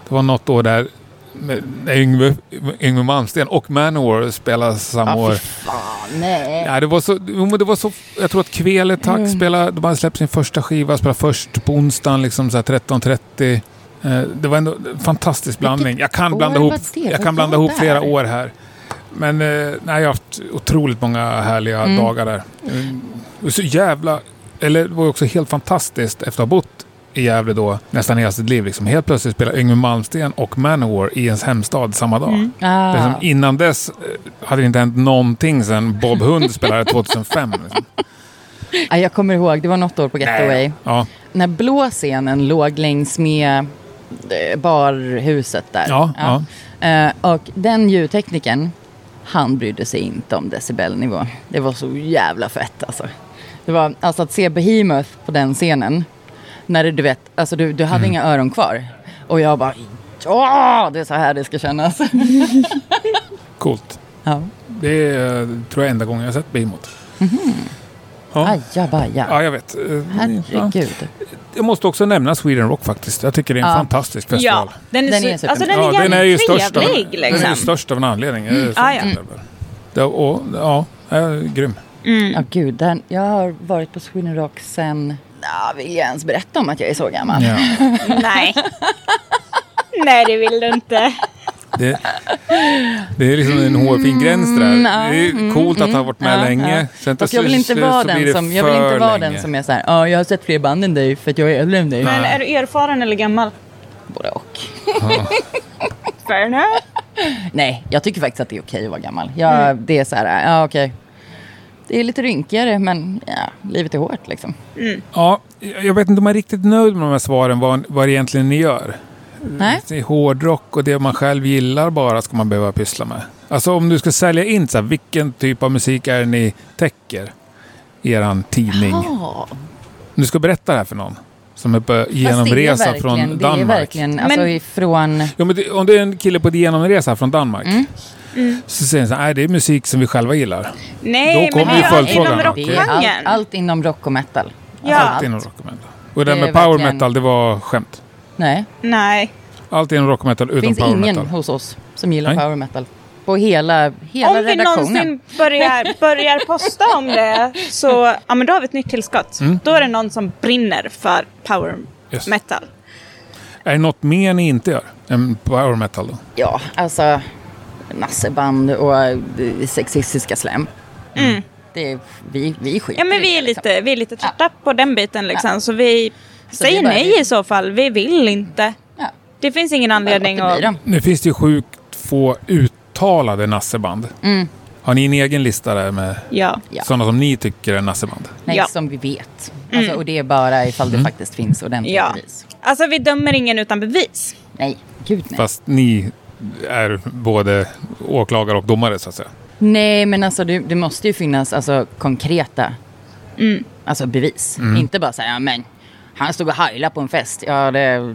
Det var något år där med- när Yngve, Yngve Malmsten och Manowar spelade samma Ja, år. Ah, fy fan, nej. Mm. Ja, det var så, jo, men det var så, jag tror att Kvele Tack spelade, de hade släppt sin första skiva, spelade först på onsdagen liksom så här 13.30. Eh, Det var ändå en fantastisk blandning. Jag kan år blanda ihop, var det? jag Var kan blanda jag ihop där? flera år här. Men eh, nej, jag har haft otroligt många härliga Mm. Mm. dagar där. Eh, och Så jävla... Eller det var ju också helt fantastiskt efter att ha bott i Gävle då nästan hela sitt liv. Liksom. Helt plötsligt spelar Yngwie Malmsteen och Manowar i ens hemstad samma dag. Det är som, Ah. innan dess eh, hade det inte hänt någonting sedan Bob [LAUGHS] Hund spelade 2005. Liksom. Ja, Ah, jag kommer ihåg, det var något år på Getaway. Ja. När blå scenen låg längs med eh, barhuset där. Ja, Eh, och den ljudteknikern, han brydde sig inte om decibelnivå. Det var så jävla fett alltså. Det var, alltså att se Behemoth på den scenen, när du, du vet, alltså du, du hade Mm. inga öron kvar. Och jag bara, ja, det är så här det ska kännas. [LAUGHS] Coolt. ja. Det är, eh, tror jag, enda gången jag har sett Behemoth. Ja. Ajabaja, ja, jag vet. Eh, ja. Mhm. herregud. Jag måste också nämna Sweden Rock faktiskt. Jag tycker det är en Ja. fantastisk festival. Ja, den är, Den så, är super- alltså den är Ja, jävligt ju störst av- trevlig liksom. Den är ju störst av en anledning. Mm. Ah, ja. Ja, och, ja, eh, grym. Ja, gud. Den, jag har varit på Sweden Rock sen... Ja, vill jag ens berätta om att jag är så gammal? Ja. [LAUGHS] Nej. Nej, det vill du inte. Det, det är liksom en hårfin gräns där. Mm, Det är coolt att ha varit med ja, länge. ja. Sen till Och jag vill inte slut vara, så blir den det som, jag vill inte för vara länge. den som är så här, ja, jag har sett fler band än dig för att jag är äldre än dig. Men är du erfaren eller gammal? Både och. Fair enough. Nej, jag tycker faktiskt att det är okej att vara gammal. Jag, Mm. Det är så här, ja okej. Det är lite rynkigare, men ja, livet är hårt liksom. Ja, jag vet inte om jag är riktigt nöjd med de här svaren, vad, vad det egentligen ni gör. Nej? Det är hårdrock och det man själv gillar bara ska man behöva pyssla med. Alltså om du ska sälja in så här, vilken typ av musik är det ni täcker i er tidning? Ja, Om du ska berätta det här för någon som är på fast det är genomresa verkligen- från Det är Danmark. verkligen, alltså Men- ifrån... Ja, men det, om det är en kille på genomresa från Danmark Mm. Mm. så säger han så här, "Nej, det är musik som vi själva gillar. Nej, Då men kommer det är följdfrågan. inom Okej. Det är allt, rockgenren. allt inom rock och metal. Ja. Alltså, Allt inom rock och metal. Och det där Det är med power verkligen- metal, det var skämt. Nej. Nej. Allt inom rock och metal Det utom finns power ingen metal. hos oss som gillar Nej. power metal. På hela, hela Om vi redaktionen. någonsin börjar, börjar posta om det så ja, men då har vi ett nytt tillskott. Mm. Då är det någon som brinner för power Yes. metal. Är det något mer ni inte gör än power metal då? Ja, alltså nasseband och eh, sexistiska slem. Det är, vi, vi skiter Mm. Ja, men i vi det, är liksom. lite, vi är lite trötta på den biten liksom. Så vi Så säger vi bara- nej i så fall. Vi vill inte. Ja. Det finns ingen anledning Låt det att... bli dem. Nu finns det ju sjukt få uttalade nasseband. Har ni en egen lista där med Ja. Mm. Ja. sådana som ni tycker är nasseband? Nej, Ja. Mm. som vi vet. Alltså, och det är bara ifall det faktiskt finns ordentliga Ja. bevis. Alltså vi dömer ingen utan bevis. Nej, gud nej. Fast ni är både åklagare och domare så att säga. Nej, men alltså det, det måste ju finnas alltså, konkreta Mm. alltså, bevis. Inte bara säga, ja men han stod och heilade på en fest. Ja, det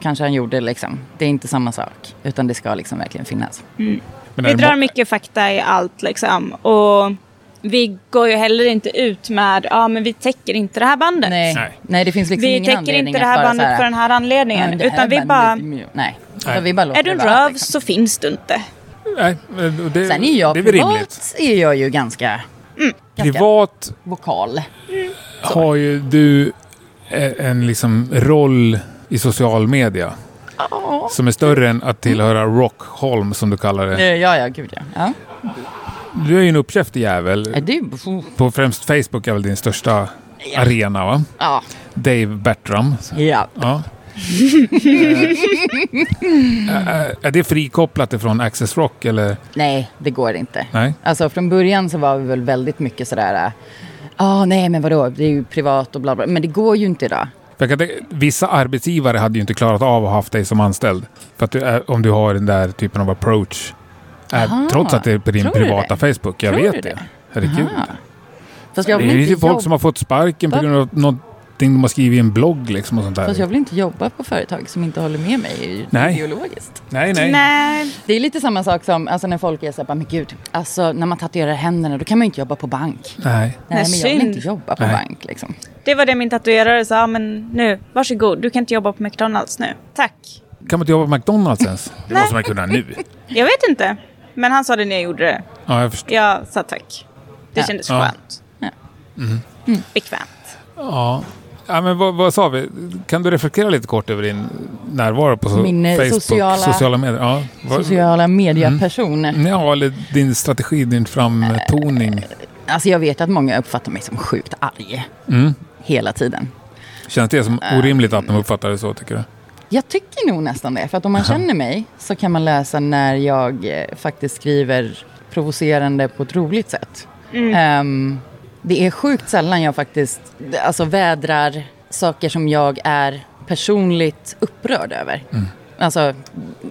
kanske han gjorde liksom. Det är inte samma sak. Utan det ska liksom verkligen finnas. Men Vi är det drar mo- mycket fakta i allt liksom. Och vi går ju heller inte ut med ja men vi täcker inte det här bandet. Nej, Nej. nej. det finns liksom Vi ingen täcker anledning inte det här att bara så bandet här, för den här anledningen. "Ja, det här utan vi bandet bara, är ju- Nej. Så Nej. vi bara låter är du en det vara, röv liksom. så finns du inte. Nej, men det, Sen är jag det är väl rimligt. privat, är jag ju ganska, ganska Privat vokal. har ju du eh, en liksom roll i social media som är större än att tillhöra Rockholm som du kallar Eh, det. Ja, ja, gud ja. ja. Du är ju en uppkäftig Är jävel. du... På främst Facebook är väl din största arena va? Ja. Dave Bertram. ja. [LAUGHS] Ja. Eh, eh, är det frikopplat ifrån Access Rock eller? Nej, det går inte. Nej. Alltså från början så var vi väl väldigt mycket sådär, äh, ah, nej men vadå, det är ju privat och bla bla. Men det går ju inte idag. För jag kan tänka- vissa arbetsgivare hade ju inte klarat av att ha haft dig som anställd. För att du är, om du har den där typen av approach. Är, Aha, trots att det är på din tror du privata Facebook. Jag Tror du vet det. det? Herregud. Aha. Fast Det jag vill är inte ju folk jobba, som har fått sparken på Va? grund av någonting de har skrivit i en blogg liksom och sånt där. fast jag vill inte jobba på företag som inte håller med mig Nej. ideologiskt. Nej, nej. Nej. Det är lite samma sak som alltså, när folk är såhär, bara, men gud, alltså när man tatuerar händerna då kan man ju inte jobba på bank. nej. Nej, men jag vill synd. inte jobba på Nej. bank liksom. Det var det min tatuerare sa. Men nu, varsågod. Du kan inte jobba på McDonalds nu. Tack. Kan man inte jobba på McDonalds ens? [LAUGHS] Det måste man kunna nu. Jag vet inte. Men han sa det när jag gjorde det. Ja, jag förstår. Jag sa tack. Det Ja. kändes Ja. skönt. Ja. Mm. Bekvämt. Ja. ja men vad, vad sa vi? Kan du reflektera lite kort över din närvaro på so- Min, eh, Facebook? sociala- sociala medier? Ja. Vad- Mm. Sociala medieperson. Ja, eller din strategi, din framtoning. Mm. Alltså jag vet att många uppfattar mig som sjukt arg. Hela tiden. Känns det som orimligt att de uppfattar det så, tycker du? Jag tycker nog nästan det. För att om man känner mig så kan man läsa när jag eh, faktiskt skriver provocerande på ett roligt sätt. Ehm, det är sjukt sällan jag faktiskt alltså, vädrar saker som jag är personligt upprörd över. Alltså,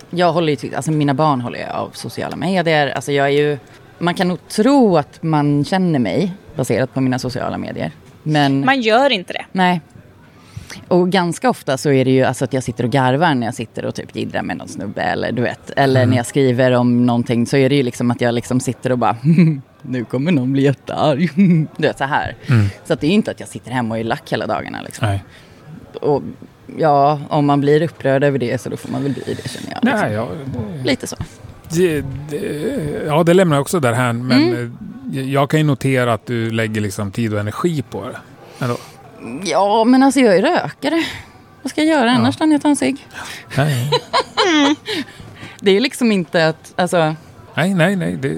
jag håller ju, till- alltså, mina barn håller jag av sociala medier. Alltså, jag är ju, man kan nog tro att man känner mig baserat på mina sociala medier. Men... Man gör inte det. Nej. Och ganska ofta så är det ju alltså att jag sitter och garvar när jag sitter och typ jiddrar med någon snubbe eller du vet. Eller Mm. när jag skriver om någonting så är det ju liksom att jag liksom sitter och bara [LAUGHS] nu kommer någon bli jättearg. [LAUGHS] du vet så här. Så att det är ju inte att jag sitter hemma och är lack hela dagarna liksom. Mm. Nej. Och ja, om man blir upprörd över det så då får man väl bli det känner jag. Liksom. Nej, jag, Lite så. det, det, ja, det lämnar jag också där här. Men Mm. eh, jag kan ju notera att du lägger liksom tid och energi på det. Ändå. Ja, men alltså jag är rökare. Vad ska jag göra annars än att ta en cigg? Nej, Det är liksom inte att, alltså nej, nej. nej det,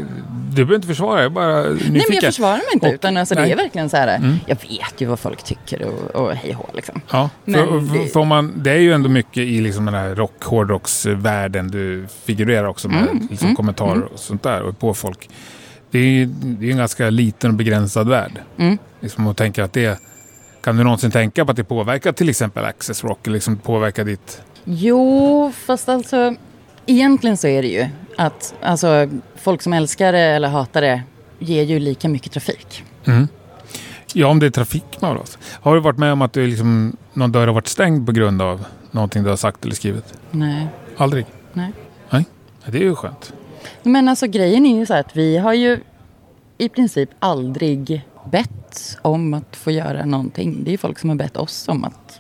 du behöver inte försvara dig, jag är bara nyfiken. Nej, men jag försvarar mig inte. Och- utan alltså, det nej. Mm. är verkligen så här, jag vet ju vad folk tycker och, och hej och hå, liksom. Ja, för, Men för, det- för man, det är ju ändå mycket i liksom den här rock, hårdrocksvärlden du figurerar också med Mm, liksom kommentarer och sånt där och på folk. Det är ju det är ju en ganska liten och begränsad värld. Mm. Liksom, och tänker att det, kan du någonsin tänka på att det påverkar till exempel Access Rock? eller Liksom påverkar ditt... Jo, fast alltså egentligen så är det ju att alltså, folk som älskar det eller hatar det ger ju lika mycket trafik. Ja, om det är trafik man vill ha. Har du varit med om att du liksom, någon dörr har varit stängd på grund av någonting du har sagt eller skrivit? Nej, Aldrig? nej. Nej, det är ju skönt. Men alltså grejen är ju så här att vi har ju i princip aldrig bett om att få göra någonting. Det är ju folk som har bett oss om att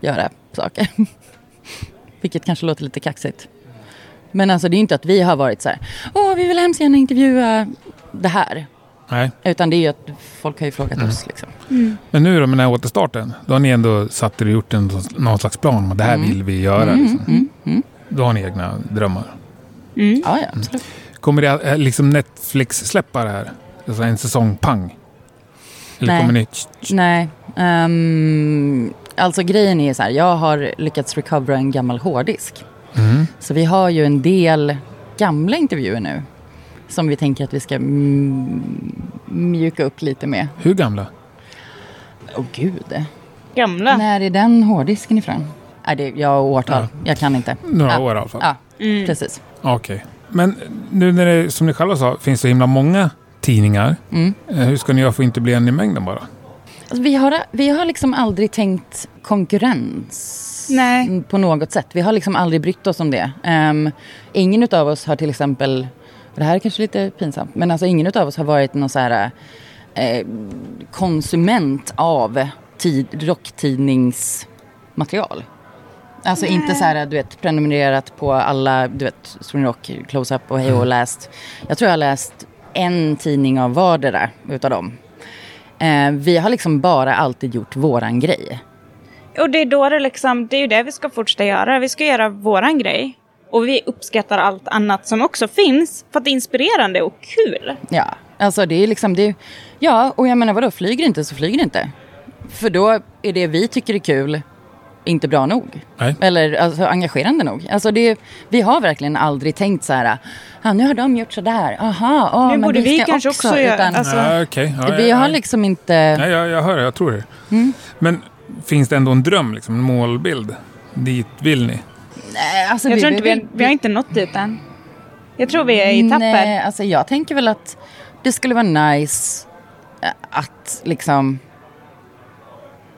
göra saker. [LAUGHS] Vilket kanske låter lite kaxigt. Men alltså det är ju inte att vi har varit så här, åh vi vill hemskt gärna intervjua det här. Nej. Utan det är ju att folk har ju frågat oss liksom. Men nu då med den här återstarten, då har ni ändå satt er och gjort en, någon slags plan om att det här Mm. vill vi göra. liksom. Då har ni egna drömmar. Ja, ja, absolut. Kommer det eh, liksom Netflix släppa det här? Alltså en säsong pang? Eller Nej. kommer ni... Nej. ehm, alltså grejen är så här, jag har lyckats recovera en gammal hårddisk. Så vi har ju en del gamla intervjuer nu. Som vi tänker att vi ska mm, mjuka upp lite med. Hur gamla? Åh gud. Gamla. När är den hårddisken ifrån? Nej, det, jag har årtal. Jag kan inte. Några Ja. år i alla fall. Ja, precis. Okej. Men nu när det, som ni själva sa, finns så himla många tidningar. Mm. Eh, Hur ska ni göra för att inte bli en i mängden bara? Alltså, vi, har, vi har liksom aldrig tänkt konkurrens Nej. Mm, på något sätt. Vi har liksom aldrig brytt oss om det. Ehm, ingen av oss har till exempel, och det här är kanske lite pinsamt, men alltså ingen av oss har varit någon så här eh, konsument av tid, rocktidningsmaterial. Alltså inte så här, du vet, prenumererat på alla, du vet, Sweden Rock, Close-Up och Hej och läst. Jag tror jag har läst en tidning av vardera utav dem. Eh, vi har liksom bara alltid gjort våran grej. Och det är då det liksom, det är ju det vi ska fortsätta göra. Vi ska göra våran grej. Och vi uppskattar allt annat som också finns. För att det är inspirerande och kul. Ja, alltså det är liksom, det är, ja, och jag menar vadå, flyger det inte så flyger det inte. För då är det vi tycker är kul inte bra nog. Nej. Eller alltså, engagerande nog. Alltså det, är- vi har verkligen aldrig tänkt så här, ah, nu har de gjort så där, aha, ah, Nu men borde vi, vi ska kanske också, också göra- utan, alltså- Så- Ja, okej. Ja, Vi ja, har ja. liksom Mm. inte, Nej, jag, jag hör det. Jag tror det. Men finns det ändå en dröm, liksom, en målbild? Dit vill ni? nej, alltså Jag vi, tror inte vi, vi har inte nått dit än. Jag tror vi är i Nej, tapper. alltså jag tänker väl att det skulle vara nice eh, att liksom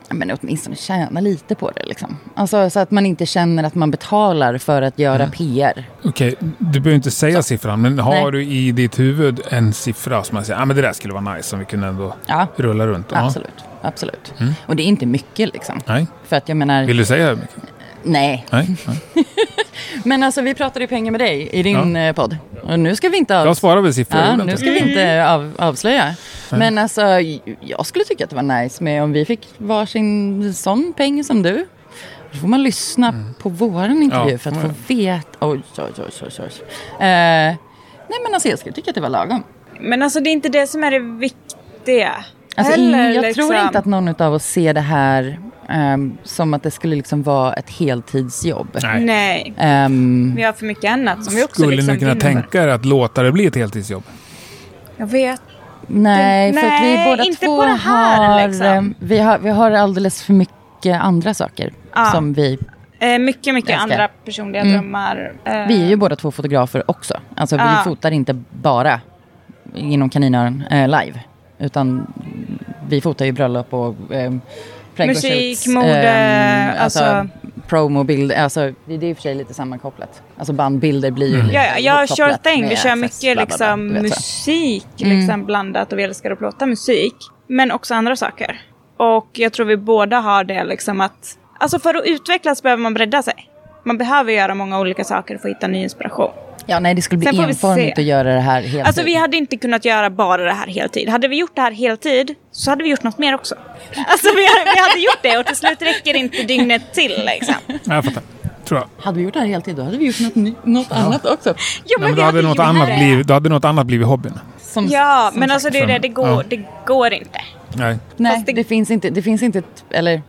ja, men åtminstone tjäna lite på det. Liksom. Alltså, så att man inte känner att man betalar för att göra PR. Okej, du behöver inte säga siffran, men har Nej. du i ditt huvud en siffra som man säger, ah, men det där skulle vara nice om vi kunde ändå Ja, rulla runt? Ja. Mm. absolut. absolut. Och det är inte mycket liksom. Nej, För att jag menar, vill du säga hur mycket? nej. Nej. nej. Men alltså vi pratade ju pengar med dig i din Ja. eh, podd. Och nu ska vi inte Jag avslöja. svarar väl siffror. Ja, jag vet nu inte. ska vi inte Mm. av, avslöja. Men alltså, j- jag skulle tycka att det var nice med om vi fick varsin sån peng som du. Då får man lyssna på våran intervju Mm. Ja, för får att få Mm. man veta. Oj, oj, oj, oj, oj. Eh, nej, men alltså jag skulle tycka att det var lagom. Men alltså det är inte det som är det viktiga. Alltså, heller, ingen, jag tror liksom. inte att någon av oss ser det här ehm, som att det skulle liksom vara ett heltidsjobb. Nej. Nej. Ehm, Vi har för mycket annat som vi också Skulle liksom ni kunna vinner. tänka er att låta det bli ett heltidsjobb? Jag vet. nej, för att vi Nej, båda inte två på det här, har, liksom. ehm, vi har... Vi har alldeles för mycket andra saker Ja. som vi... Eh, mycket, mycket Älskar. Mm. andra personliga drömmar. Eh, Vi är ju båda två fotografer också. Alltså vi Ja. fotar inte bara inom kaninöron eh, live. Utan vi fotar ju bröllop och eh, ehm, Musik, mode, alltså- Promobild, alltså det det är i och för sig lite sammankopplat. Alltså bandbilder blir ju lite Mm. Ja, ja, jag kör ihopkopplat thing. Vi med kör fest, mycket bla, bla, bla, liksom, du vet så. musik liksom, blandat och vi älskar att plåta musik. Men också andra saker. Och jag tror vi båda har det liksom att... Alltså för att utvecklas behöver man bredda sig. Man behöver göra många olika saker för att hitta ny inspiration. Ja, nej det skulle bli Sen får vi enformigt se. att göra det här helt Alltså vi hade inte kunnat göra bara det här heltid. Hade vi gjort det här heltid så hade vi gjort något mer också. Alltså vi, vi hade gjort det och till slut räcker inte dygnet till liksom. Ja, jag fattar. Tror jag. Hade vi gjort det här heltid då hade vi gjort något, ny- något annat också. Jo, Nej, men vi då, hade hade något gjort annat det. blivit, då hade något annat blivit hobbyn. Som, Ja, som men sagt. alltså det är det, det går, Ja. det går inte. Nej. Nej, Fast det... det- finns inte, det finns inte, ett- eller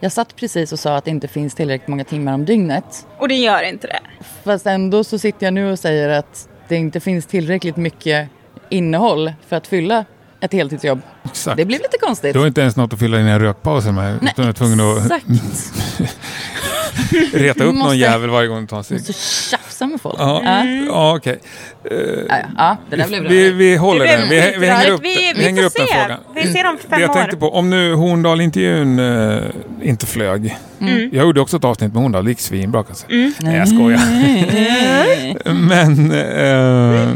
jag satt precis och sa att det inte finns tillräckligt många timmar om dygnet. Och det gör inte det. Fast ändå så sitter jag nu och säger att det inte finns tillräckligt mycket innehåll för att fylla ett heltidsjobb. Exakt. Det blir lite konstigt. Du har inte ens något att fylla dina rökpauser med. utan du är tvungen att Exakt, [LAUGHS] reta upp Måste- någon jävel varje gång du tar en cigg. så tjafsar med folk. Ja, ja okej. Ja, ja. ja, det där blev Vi, rörigt. vi håller Det den. blev Vi, vi hänger rörigt. upp, Vi- vi vi hänger får upp den se. frågan. Vi ser om fem det jag år. tänkte på, om nu Horndal-intervjun eh, inte flög. Mm. Jag gjorde också ett avsnitt med Horndal, det gick svinbra kan jag säga. Nej, jag skojar. Mm. [LAUGHS] Men eh,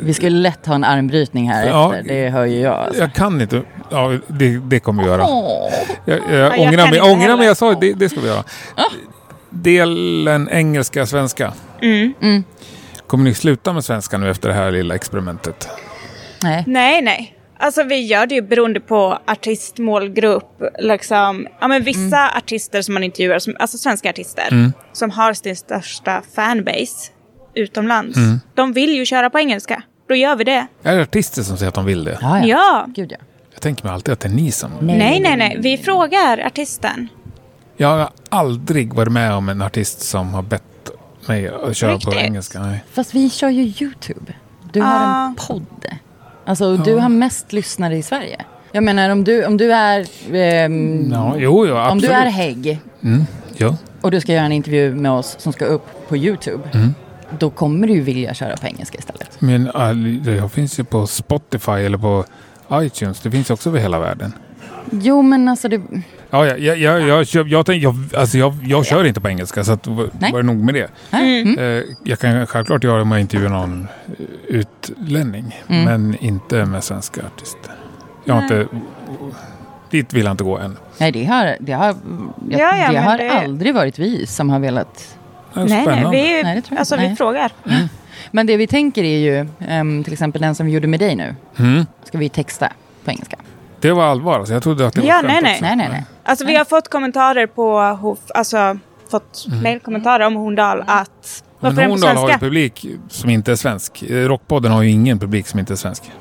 Vi skulle lätt ha en armbrytning här Ja. efter, det hör ju jag. Alltså. jag kan inte. Ja, det, det kommer vi göra. Åh. Jag, jag, jag ångrar kan mig, inte jag ångrar heller. Ah. mig. Jag sa det, det ska vi göra. Delen engelska, svenska. Mm. Kommer ni sluta med svenska nu efter det här lilla experimentet? Nej. Nej, nej. Alltså vi gör det ju beroende på artist, målgrupp, liksom. Ja, men vissa Mm. artister som man intervjuar, som, alltså svenska artister, som har sin största fanbase utomlands, Mm. de vill ju köra på engelska. Då gör vi det. Är det artister som säger att de vill det? Ja, ja. Ja. Gud ja. Jag tänker mig alltid att det är ni som... Nej, nej, nej. Vi frågar artisten. Jag har aldrig varit med om en artist som har bett mig att köra på Riktigt? engelska. Nej. Fast vi kör ju YouTube. Du har Ah. en podd. Alltså och du har mest lyssnare i Sverige. Jag menar om du, om du är, ehm, Ja, jo, jo, absolut. Mm. om du är Hägg Ja. och du ska göra en intervju med oss som ska upp på YouTube. Mm. Då kommer du ju vilja köra på engelska istället. Men all- det finns ju på Spotify eller på iTunes. Det finns också över hela världen. Jo men alltså det, Ja, ja, jag, jag, jag, jag, jag, tänk, jag, alltså jag, jag kör inte på engelska, så att, v- Nej. var det nog med det. Nej. Eh, Jag kan självklart göra det om jag intervjuar någon eh, utlänning, men inte med svenska artister. Jag har inte, dit vill jag inte gå än. nej det har, det har, jag, Ja, ja, det men har det- aldrig varit vi som har velat. Det är Nej, nej. spännande. Vi, Nej, det tror jag alltså inte. vi Nej. frågar. Men det vi tänker är ju, ehm, till exempel den som vi gjorde med dig nu. Mm. Ska vi texta på engelska? Det var allvar, alltså. jag trodde att det var Ja, skämt nej, nej. också. Nej nej nej. Alltså vi har fått kommentarer på Hof, alltså fått mejlkommentarer om Horndal att varför är den på Mm. Men Horndal har ju svenska? publik som inte är svensk. Eh, Rockpodden har ju ingen publik som inte är svensk.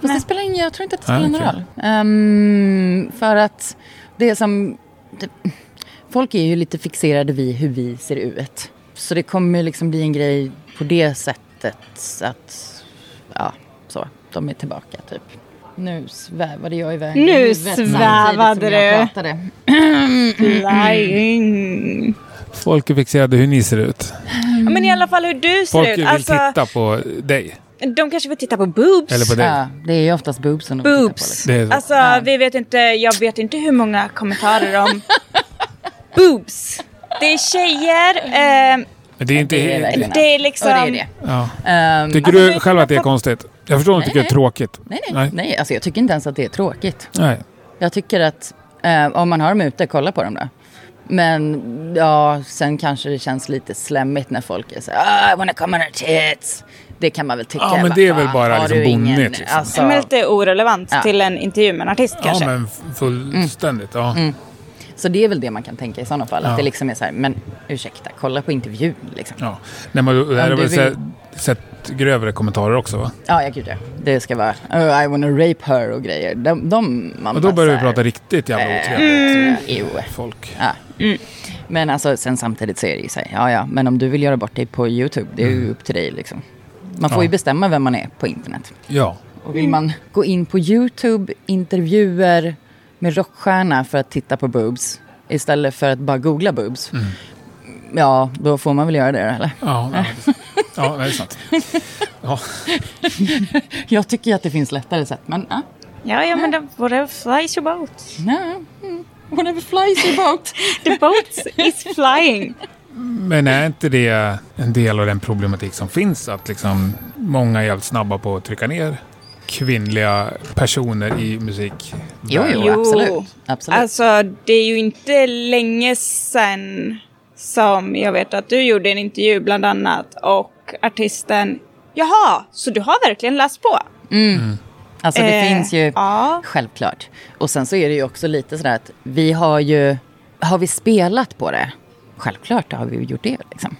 Fast det spelar ingen, jag tror inte att det spelar Nej, någon okej. roll. Ehm, för att det som... Det, folk är ju lite fixerade vid hur vi ser ut. Så det kommer ju liksom bli en grej på det sättet att... Ja, så. De är tillbaka typ. Nu svävade jag iväg. i Nu huvudet samtidigt som svävade jag du. pratade. Flying. Folk är fixerade hur ni ser ut. Mm. Ja, Men i alla fall hur du ser Folk ut. vill Alltså, titta på dig. De kanske vill titta på boobs. Eller på dig. Ja, det är ju oftast boobsen de tittar på, liksom. boobs. Det är så. Alltså, vi vet inte, jag vet inte hur många kommentarer om [LAUGHS] boobs. Det är tjejer, eh, Men det är inte... Det är verkligen det är Och liksom... det är det. ja. Ehm, Tycker Alltså, du vi- själv att det är konstigt? Jag förstår att du tycker det är tråkigt. nej, nej, nej. Alltså jag tycker inte ens att det är tråkigt. Nej. Jag tycker att eh, om man har dem ute, kolla på dem då. Men ja, sen kanske det känns lite slemmigt när folk är så här, "Ah, I wanna come on her tits. Det kan man väl tycka. Ja, men vad det är väl fan, bara har liksom du ingen- bonnigt, liksom. Alltså, Som är lite orelevant Ja. till en intervju med en artist Ja, kanske. men fullständigt. Ja. Så det är väl det man kan tänka i sådana fall. Att Ja. det liksom är så här, men ursäkta, kolla på intervjun liksom. Ja. Nej, men, då- det här Om du är väl vill- så här, så här långt grövre kommentarer också va? Ja, jag gud ja. Det ska vara oh, I wanna rape her och grejer. De, de man Och då bara börjar vi så här, prata riktigt jävla eh, otrevligt. ew. Folk. Ja. Men alltså, sen samtidigt så är det ju så här, ja ja, men om du vill göra bort dig på YouTube, det är ju upp till dig liksom. Man får Ja. ju bestämma vem man är på internet. Ja. Och vill man gå in på YouTube, intervjuer med rockstjärna för att titta på boobs istället för att bara googla boobs. Ja, då får man väl göra det då, eller? Ja, ja, det är sant. ja, det är sant. Ja. Jag tycker ju att det finns lättare sätt, men ja. Ja, ja, men det, whatever flies your boat. nej. Mm. Whatever flies your boat. The boat is flying. Men är inte det en del av den problematik som finns? Att liksom många är jävligt snabba på att trycka ner kvinnliga personer i musik. Jo, jo, Jo. absolut. absolut. Alltså, det är ju inte länge sedan som jag vet att du gjorde en intervju bland annat och artisten Jaha, så du har verkligen läst på? Alltså det Eh, finns ju, ja. självklart. Och sen så är det ju också lite sådär att vi har ju, har vi spelat på det? Självklart har vi ju gjort det liksom.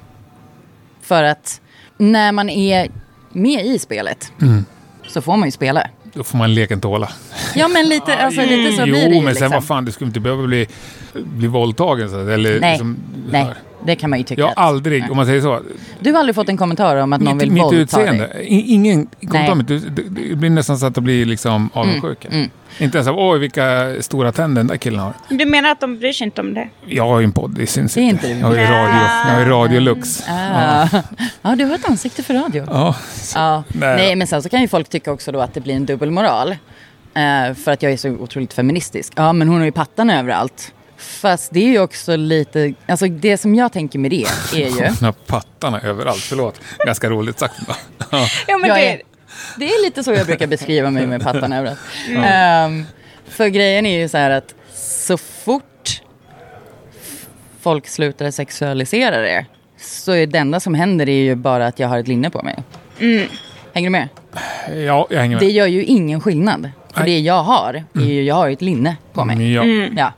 För att när man är med i spelet Mm. så får man ju spela. Då får man leken tåla. Ja men lite, alltså, lite så jo, blir det ju men sen liksom. vad fan, du skulle inte behöva bli, bli våldtagen. Så, att- eller, Nej, liksom, nej, det kan man ju tycka. Jag har att- aldrig, om man säger så, Du har aldrig fått en kommentar om att någon mitt, vill mitt våldta dig? utseende. I- Ingen kommentar om det. Det- Det blir nästan så att det blir Mm, liksom avundsjuk. Inte ens av, oj vilka stora tänder den där killen har. Du menar att de bryr sig inte om det? Jag har ju en podd, det syns Det är inte. inte du. Jag har ju radio, jag har ju radio lux. Ah. Ja, du har ett ansikte för radio. Ja. Ja. Nej. Nej. men sen så kan ju folk tycka också då att det blir en dubbelmoral. Eh, för att jag är så otroligt feministisk. Ja, men hon har ju pattan överallt. Fast det är ju också lite, alltså det som jag tänker med det är ju, Hon har pattarna överallt, förlåt. Ganska roligt sagt. va? Ja. Ja, men Jag det, är- det är lite så jag brukar beskriva mig med pattan överallt. Ehm, för grejen är ju så här att så fort folk slutar sexualisera det så är det enda som händer är ju bara att jag har ett linne på mig. Hänger du med? ja, jag hänger Det med. gör ju ingen skillnad. För Nej. Mm. det jag har, är ju, jag har ju ett linne på mig. Mm. Ja. Ja.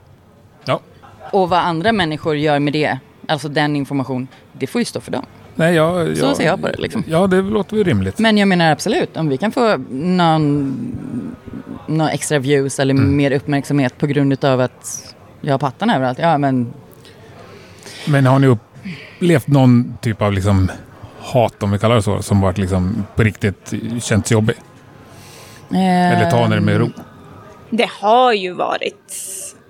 Ja. Och vad andra människor gör med det, alltså den information, det får ju stå för dem. Nej, jag, jag, Så ser jag på det, liksom. Ja, det låter väl rimligt. Men jag menar absolut, om vi kan få någon, någon extra views eller Mm. mer uppmärksamhet på grund av att jag har pattan överallt, ja men Men har ni upplevt någon typ av liksom hat, om vi kallar det så, som varit liksom på riktigt känts jobbig? Eller ta det Ehm, med ro? det har ju varit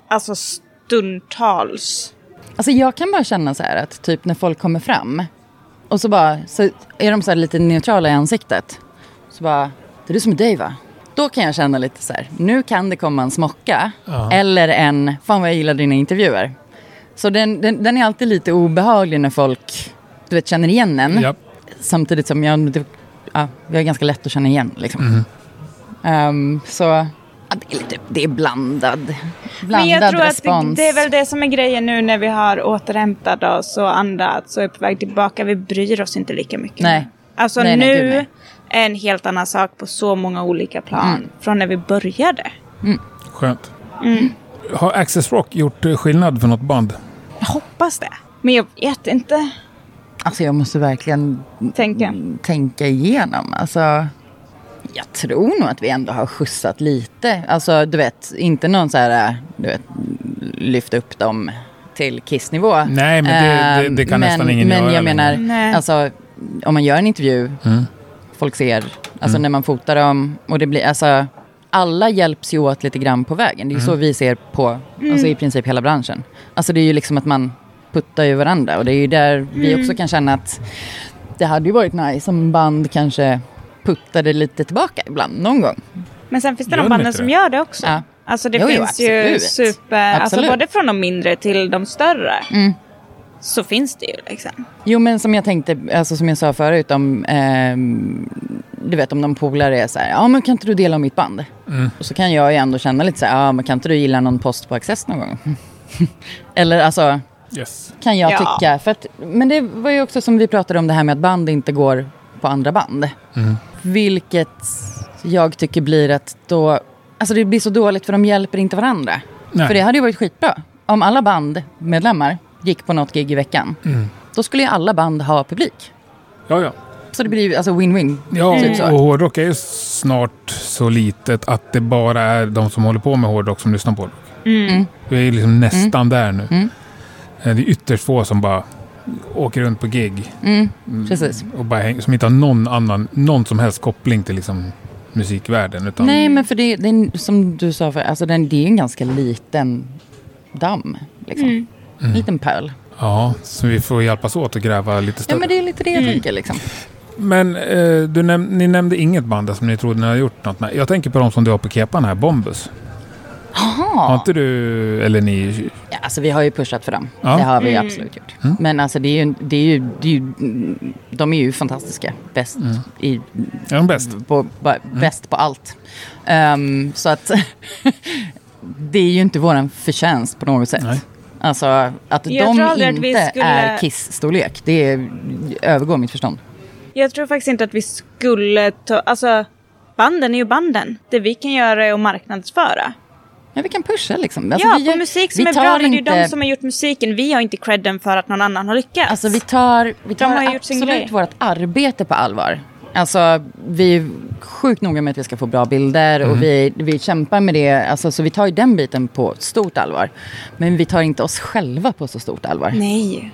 alltså stundtals. Alltså jag kan bara känna så här att typ när folk kommer fram och så bara så är de så här lite neutrala i ansiktet. Så bara, det är du som är dig va? Då kan jag känna lite så här, nu kan det komma en smocka. Eller en, fan vad jag gillar dina intervjuer. Så den, den, den är alltid lite obehaglig när folk, du vet, känner igen en. Ja. Samtidigt som jag, det, ja, jag är ganska lätt att känna igen liksom. Ehm, så, ja, det är lite, det är blandad, blandad Men jag tror att respons. det, det är väl det som är grejen nu när vi har återhämtat oss och andats och är på väg tillbaka. Vi bryr oss inte lika mycket. Nej. Alltså Nej, nej, nu gud, nej. är en helt annan sak på så många olika plan Mm. från när vi började. Skönt. Mm. Har Access Rock gjort eh, skillnad för något band? Jag hoppas det. Men jag vet inte. Alltså jag måste verkligen Tänka. mm, tänka igenom. Alltså, jag tror nog att vi ändå har skjutsat lite. Alltså du vet, inte någon så här, du vet, lyft upp dem till kissnivå. Nej, men det- Eh, det- det kan nästan ingen men göra Men jag längre. Mm. menar, Nej. alltså om man gör en intervju, folk ser, alltså när man fotar dem och det blir, alltså alla hjälps ju åt lite grann på vägen. Det är ju så Mm. vi ser på, alltså i princip hela branschen. Alltså det är ju liksom att man puttar ju varandra och det är ju där vi också kan känna att det hade ju varit nice om band kanske puttade lite tillbaka ibland, någon gång. Men sen finns det de Gör de banden inte som det? gör det också. Ja. Alltså det Jo, jo, finns ju absolut. super, alltså Absolut. Mm. både från de mindre till de större. Så finns det ju liksom. Jo men som jag tänkte, alltså som jag sa förut om, ehm, du vet om någon polare är så här, ja men kan inte du dela om mitt band? Och så kan jag ju ändå känna lite så här, ja men kan inte du gilla någon post på Access någon gång? [LAUGHS] Eller alltså, Yes. kan jag Ja. tycka. För att, men det var ju också som vi pratade om det här med att band inte går på andra band. Vilket jag tycker blir att då, alltså det blir så dåligt för de hjälper inte varandra. Nej. För det hade ju varit skitbra. Om alla Mm. bandmedlemmar gick på något gig i veckan, då skulle ju alla band ha publik. Ja, ja. Så det blir ju alltså win-win. Ja, Typ så. och hårdrock är ju snart så litet att det bara är de som håller på med hårdrock som lyssnar på hårdrock. Mm. Vi är ju liksom nästan där nu. Mm. Eh, Det är ytterst få som bara åker runt på gig Mm, mm, precis. och bara häng, som inte har någon annan, någon som helst koppling till liksom musikvärlden. Utan Nej, men för det, det är, en- som du sa, för, alltså den, det är ju en ganska liten damm. Liksom. Mm. En liten pöl. Ja, så vi får hjälpas åt att gräva lite Ja, större. men det är lite det jag Mm. tänker. Liksom. Men eh, du näm- ni nämnde inget band där som ni trodde ni hade gjort något med. Jag tänker på de som du har på kepan här, Bombus. Har Jaha. inte du, eller ni... Ja, alltså, vi har ju pushat för dem. Ja. Mm. Det har vi absolut gjort. Men alltså, det är ju, det är ju, det är ju, de är ju fantastiska. Bäst, Mm. i, Är de bäst? på, ba, bäst på allt. Ehm, så att [LAUGHS] det är ju inte vår förtjänst på något sätt. Nej. Alltså att Jag tror de aldrig att vi inte skulle- är Kiss-storlek, det är, övergår mitt förstånd. Jag tror faktiskt inte att vi skulle ta... Alltså, banden är ju banden. Det vi kan göra är att marknadsföra. Men vi kan pusha liksom. Alltså, ja, vi på gör- musik vi som är tar bra. men Det är ju inte- de som har gjort musiken. Vi har inte credden för att någon annan har lyckats. Alltså vi tar, vi tar har gjort sin grej. absolut vårt arbete på allvar. Alltså vi är sjukt noga med att vi ska få bra bilder och vi, vi kämpar med det. Alltså, så vi tar ju den biten på stort allvar. Men vi tar inte oss själva på så stort allvar. Nej.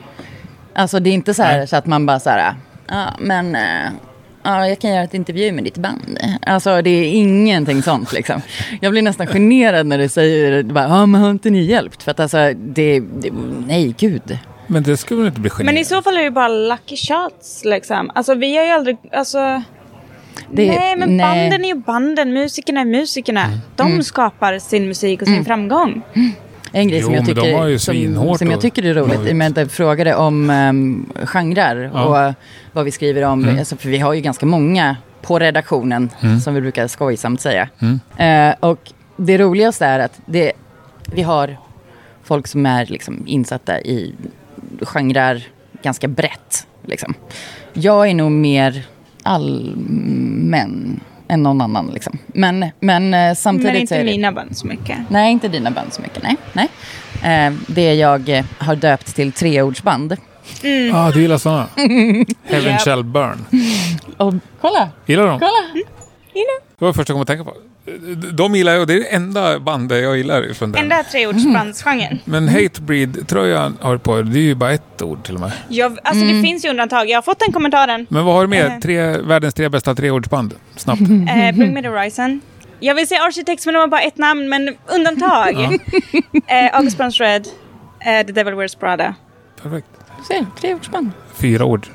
Alltså det är inte så, här, så att man bara så här, "Ah, ja men eh, ja, jag kan göra ett intervju med ditt band. Alltså det är ingenting sånt liksom. Jag blir nästan generad när du säger, bara, ja men har inte ni hjälpt? För att alltså det, det nej gud. Men det skulle väl inte bli geni? Men i så fall är det bara lucky shots liksom. Alltså vi har ju aldrig... Alltså... Det- nej, men nej. Mm. banden är ju banden. Musikerna är musikerna. De skapar sin musik och sin framgång. En grej Jo, som, jag men de var tycker, ju som, svinhårt som jag och- tycker är roligt, i och med att jag frågade om um, genrer och vad vi skriver om, Mm. alltså, för vi har ju ganska många på redaktionen, som vi brukar skojsamt säga. Mm. Eh, och det roligaste är att det, vi har folk som är liksom, insatta i genrer ganska brett. Liksom. Jag är nog mer allmän än någon annan. Liksom. Men, men eh, samtidigt Men så är inte det... mina band så mycket. Nej, inte dina band så mycket. Nej. nej. Eh, det jag eh, har döpt till treordsband. Ah, du gillar sådana? Heaven Japp. shall burn. Och kolla! Gillar du dem? Kolla! Det var det första jag kom att tänka på. De gillar jag och det är det enda bandet jag gillar från den. Enda Mm. treordsbandsgenren. Men Hatebreed-tröjan har du på dig, det är ju bara ett ord till och med. Jag, alltså Mm. det finns ju undantag. Jag har fått den kommentaren. Men vad har du med? Tre, världens tre bästa treordsband? Snabbt. Eh, Bring me the horizon. Jag vill säga Architects men de har bara ett namn, men undantag. [LAUGHS] eh, August Burns Red, eh, The Devil Wears Prada. Perfekt. Du ser, treordsband. Fyra ord.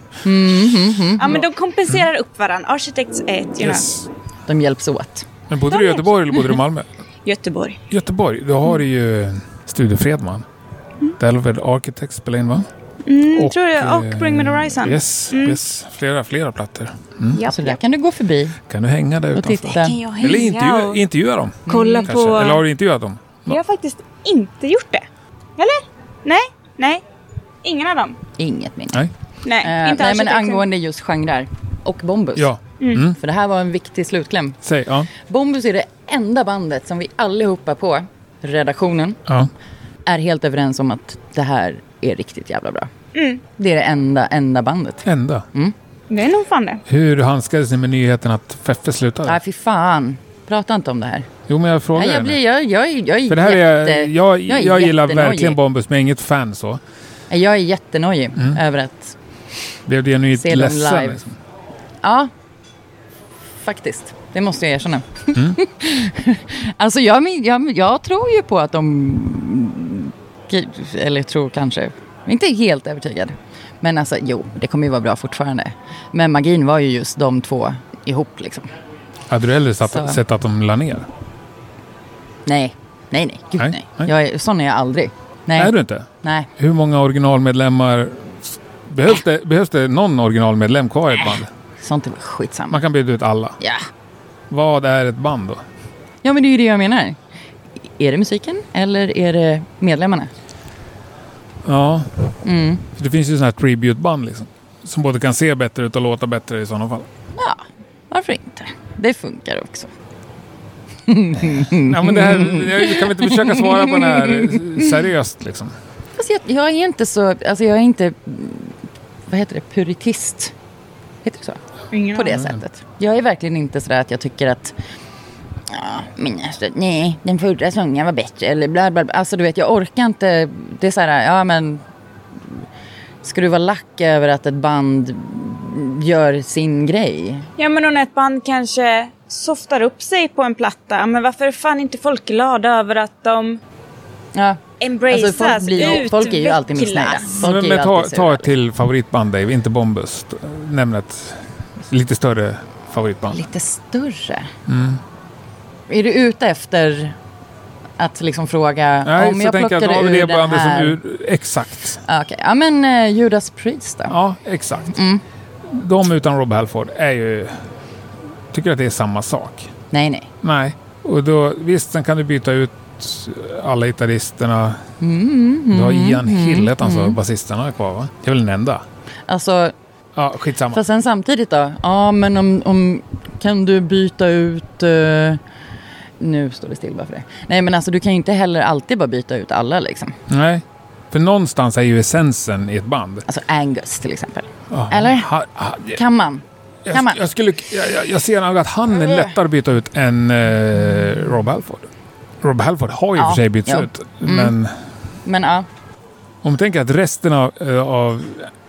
Ja men de kompenserar upp varandra. Architects är ett, you Yes. De hjälps åt. Men bodde du i Göteborg eller bodde du i Malmö? know. Göteborg. Göteborg, då har du ju Studio Fredman. Delved Architects spelade in va? Mm, tror jag. Och eh, Bring me the horizon. Yes, yes. Flera, flera plattor. Japp, Så där japp. kan du gå förbi Kan du hänga där och utanför? titta. Kan jag hänga Eller intervjua, och intervjua dem. kolla Kanske. på... Eller har du intervjuat dem? Jag har faktiskt inte gjort det. Eller? Nej, nej. Ingen av dem. Inget minne. Nej. Nej, Eh, inte nej, men Architects. angående just genrer och Bombus. Mm. Ja, För det här var en viktig slutkläm. säg. Ja. Bombus är det enda bandet som vi allihopa på redaktionen ja. är helt överens om att det här är riktigt jävla bra. Det är det enda, enda bandet. Ända. Mm. Det är nog fan det. Hur handskades ni med nyheten att Feffe slutade? Nej, Äh, fy fan. Prata inte om det här. Jo, men jag frågar Nej, jag, henne. blir, jag, jag, är- jag är För det här jätte, är, jag, jag jag, är gillar jättenojig. verkligen Bombus, men jag är inget fan så. Nej, Jag är jättenojig Mm. över att... Blev du genuint Se dem ledsen? live. Liksom. Ja, faktiskt. Det måste jag erkänna. Mm. [LAUGHS] alltså, jag, men- jag, jag tror ju på att de... Eller tror kanske. Jag är Inte helt övertygad. Men alltså, jo, det kommer ju vara bra fortfarande. Men magin var ju just de två ihop liksom. Hade du hellre Så. satt, sett att de la ner? Nej, nej, nej. Gud, Nej, nej. nej. Jag är, sån är jag aldrig. Nej, Är du inte? nej. Hur många originalmedlemmar... Behövs det, behövs det någon originalmedlem kvar i ett band? sånt är skitsamma. Man kan byta ut alla. Ja. Vad är ett band då? Ja, men det är ju det jag menar. Är det musiken eller är det medlemmarna? Ja. Mm. För det finns ju sådana här tributeband liksom. Som både kan se bättre ut och låta bättre i sådana fall. Ja, varför inte? Det funkar också. Ja, men det här, jag- kan vi inte försöka svara på det här eh, seriöst liksom? Fast jag, jag är inte så, alltså jag är inte, vad heter det, puritist. Heter det så? Ingen På det aning. sättet. Jag är verkligen inte sådär att jag tycker att "Ja, men alltså, nej, den förra sången var bättre eller bla bla bla. Alltså du vet, jag orkar inte. Det är såhär, ja men. Ska du vara lack över att ett band gör sin grej? Ja men och när ett band kanske softar upp sig på en platta. Men varför är fan inte folk glada över att de Ja. embraceas, Alltså, folk, blir, folk är ju alltid missnöjda. utvecklas? Folk är Men, ju men ta, alltid ta sura. ett till favoritband Dave, inte Bombus. Nämn ett lite större favoritband. Lite större? Mm. Är du ute efter att liksom fråga Nej, om så jag tänker jag plockade att ja, men ur det är den bandet här? som ur, Exakt. Ja, okej. Ja, men eh, Judas Priest då? Ja, exakt. Mm. De utan Rob Halford är ju... Tycker att det är samma sak. Nej, nej. Nej. Och då, visst, sen kan du byta ut alla gitarristerna. Mm, Du har mm, Ian mm, Hill, hette han så, mm. basisterna kvar va? Det är väl den enda? Alltså, Ja, skitsamma. fast sen samtidigt då? Ja, men om, om kan du byta ut... eh, nu står det still bara för det. Nej, men alltså du kan ju inte heller alltid bara byta ut alla liksom. Nej. För någonstans är ju essensen i ett band. Alltså Angus till exempel. Ja. Eller? Ha, ha, Kan man? kan man? jag, jag, skulle, jag, jag- jag ser nog att han är lättare att byta ut än eh, Rob Halford. Rob Halford har ju Ja, för sig bytts ja. ut. Mm. Men Men ja. om du tänker att resten av, eh, av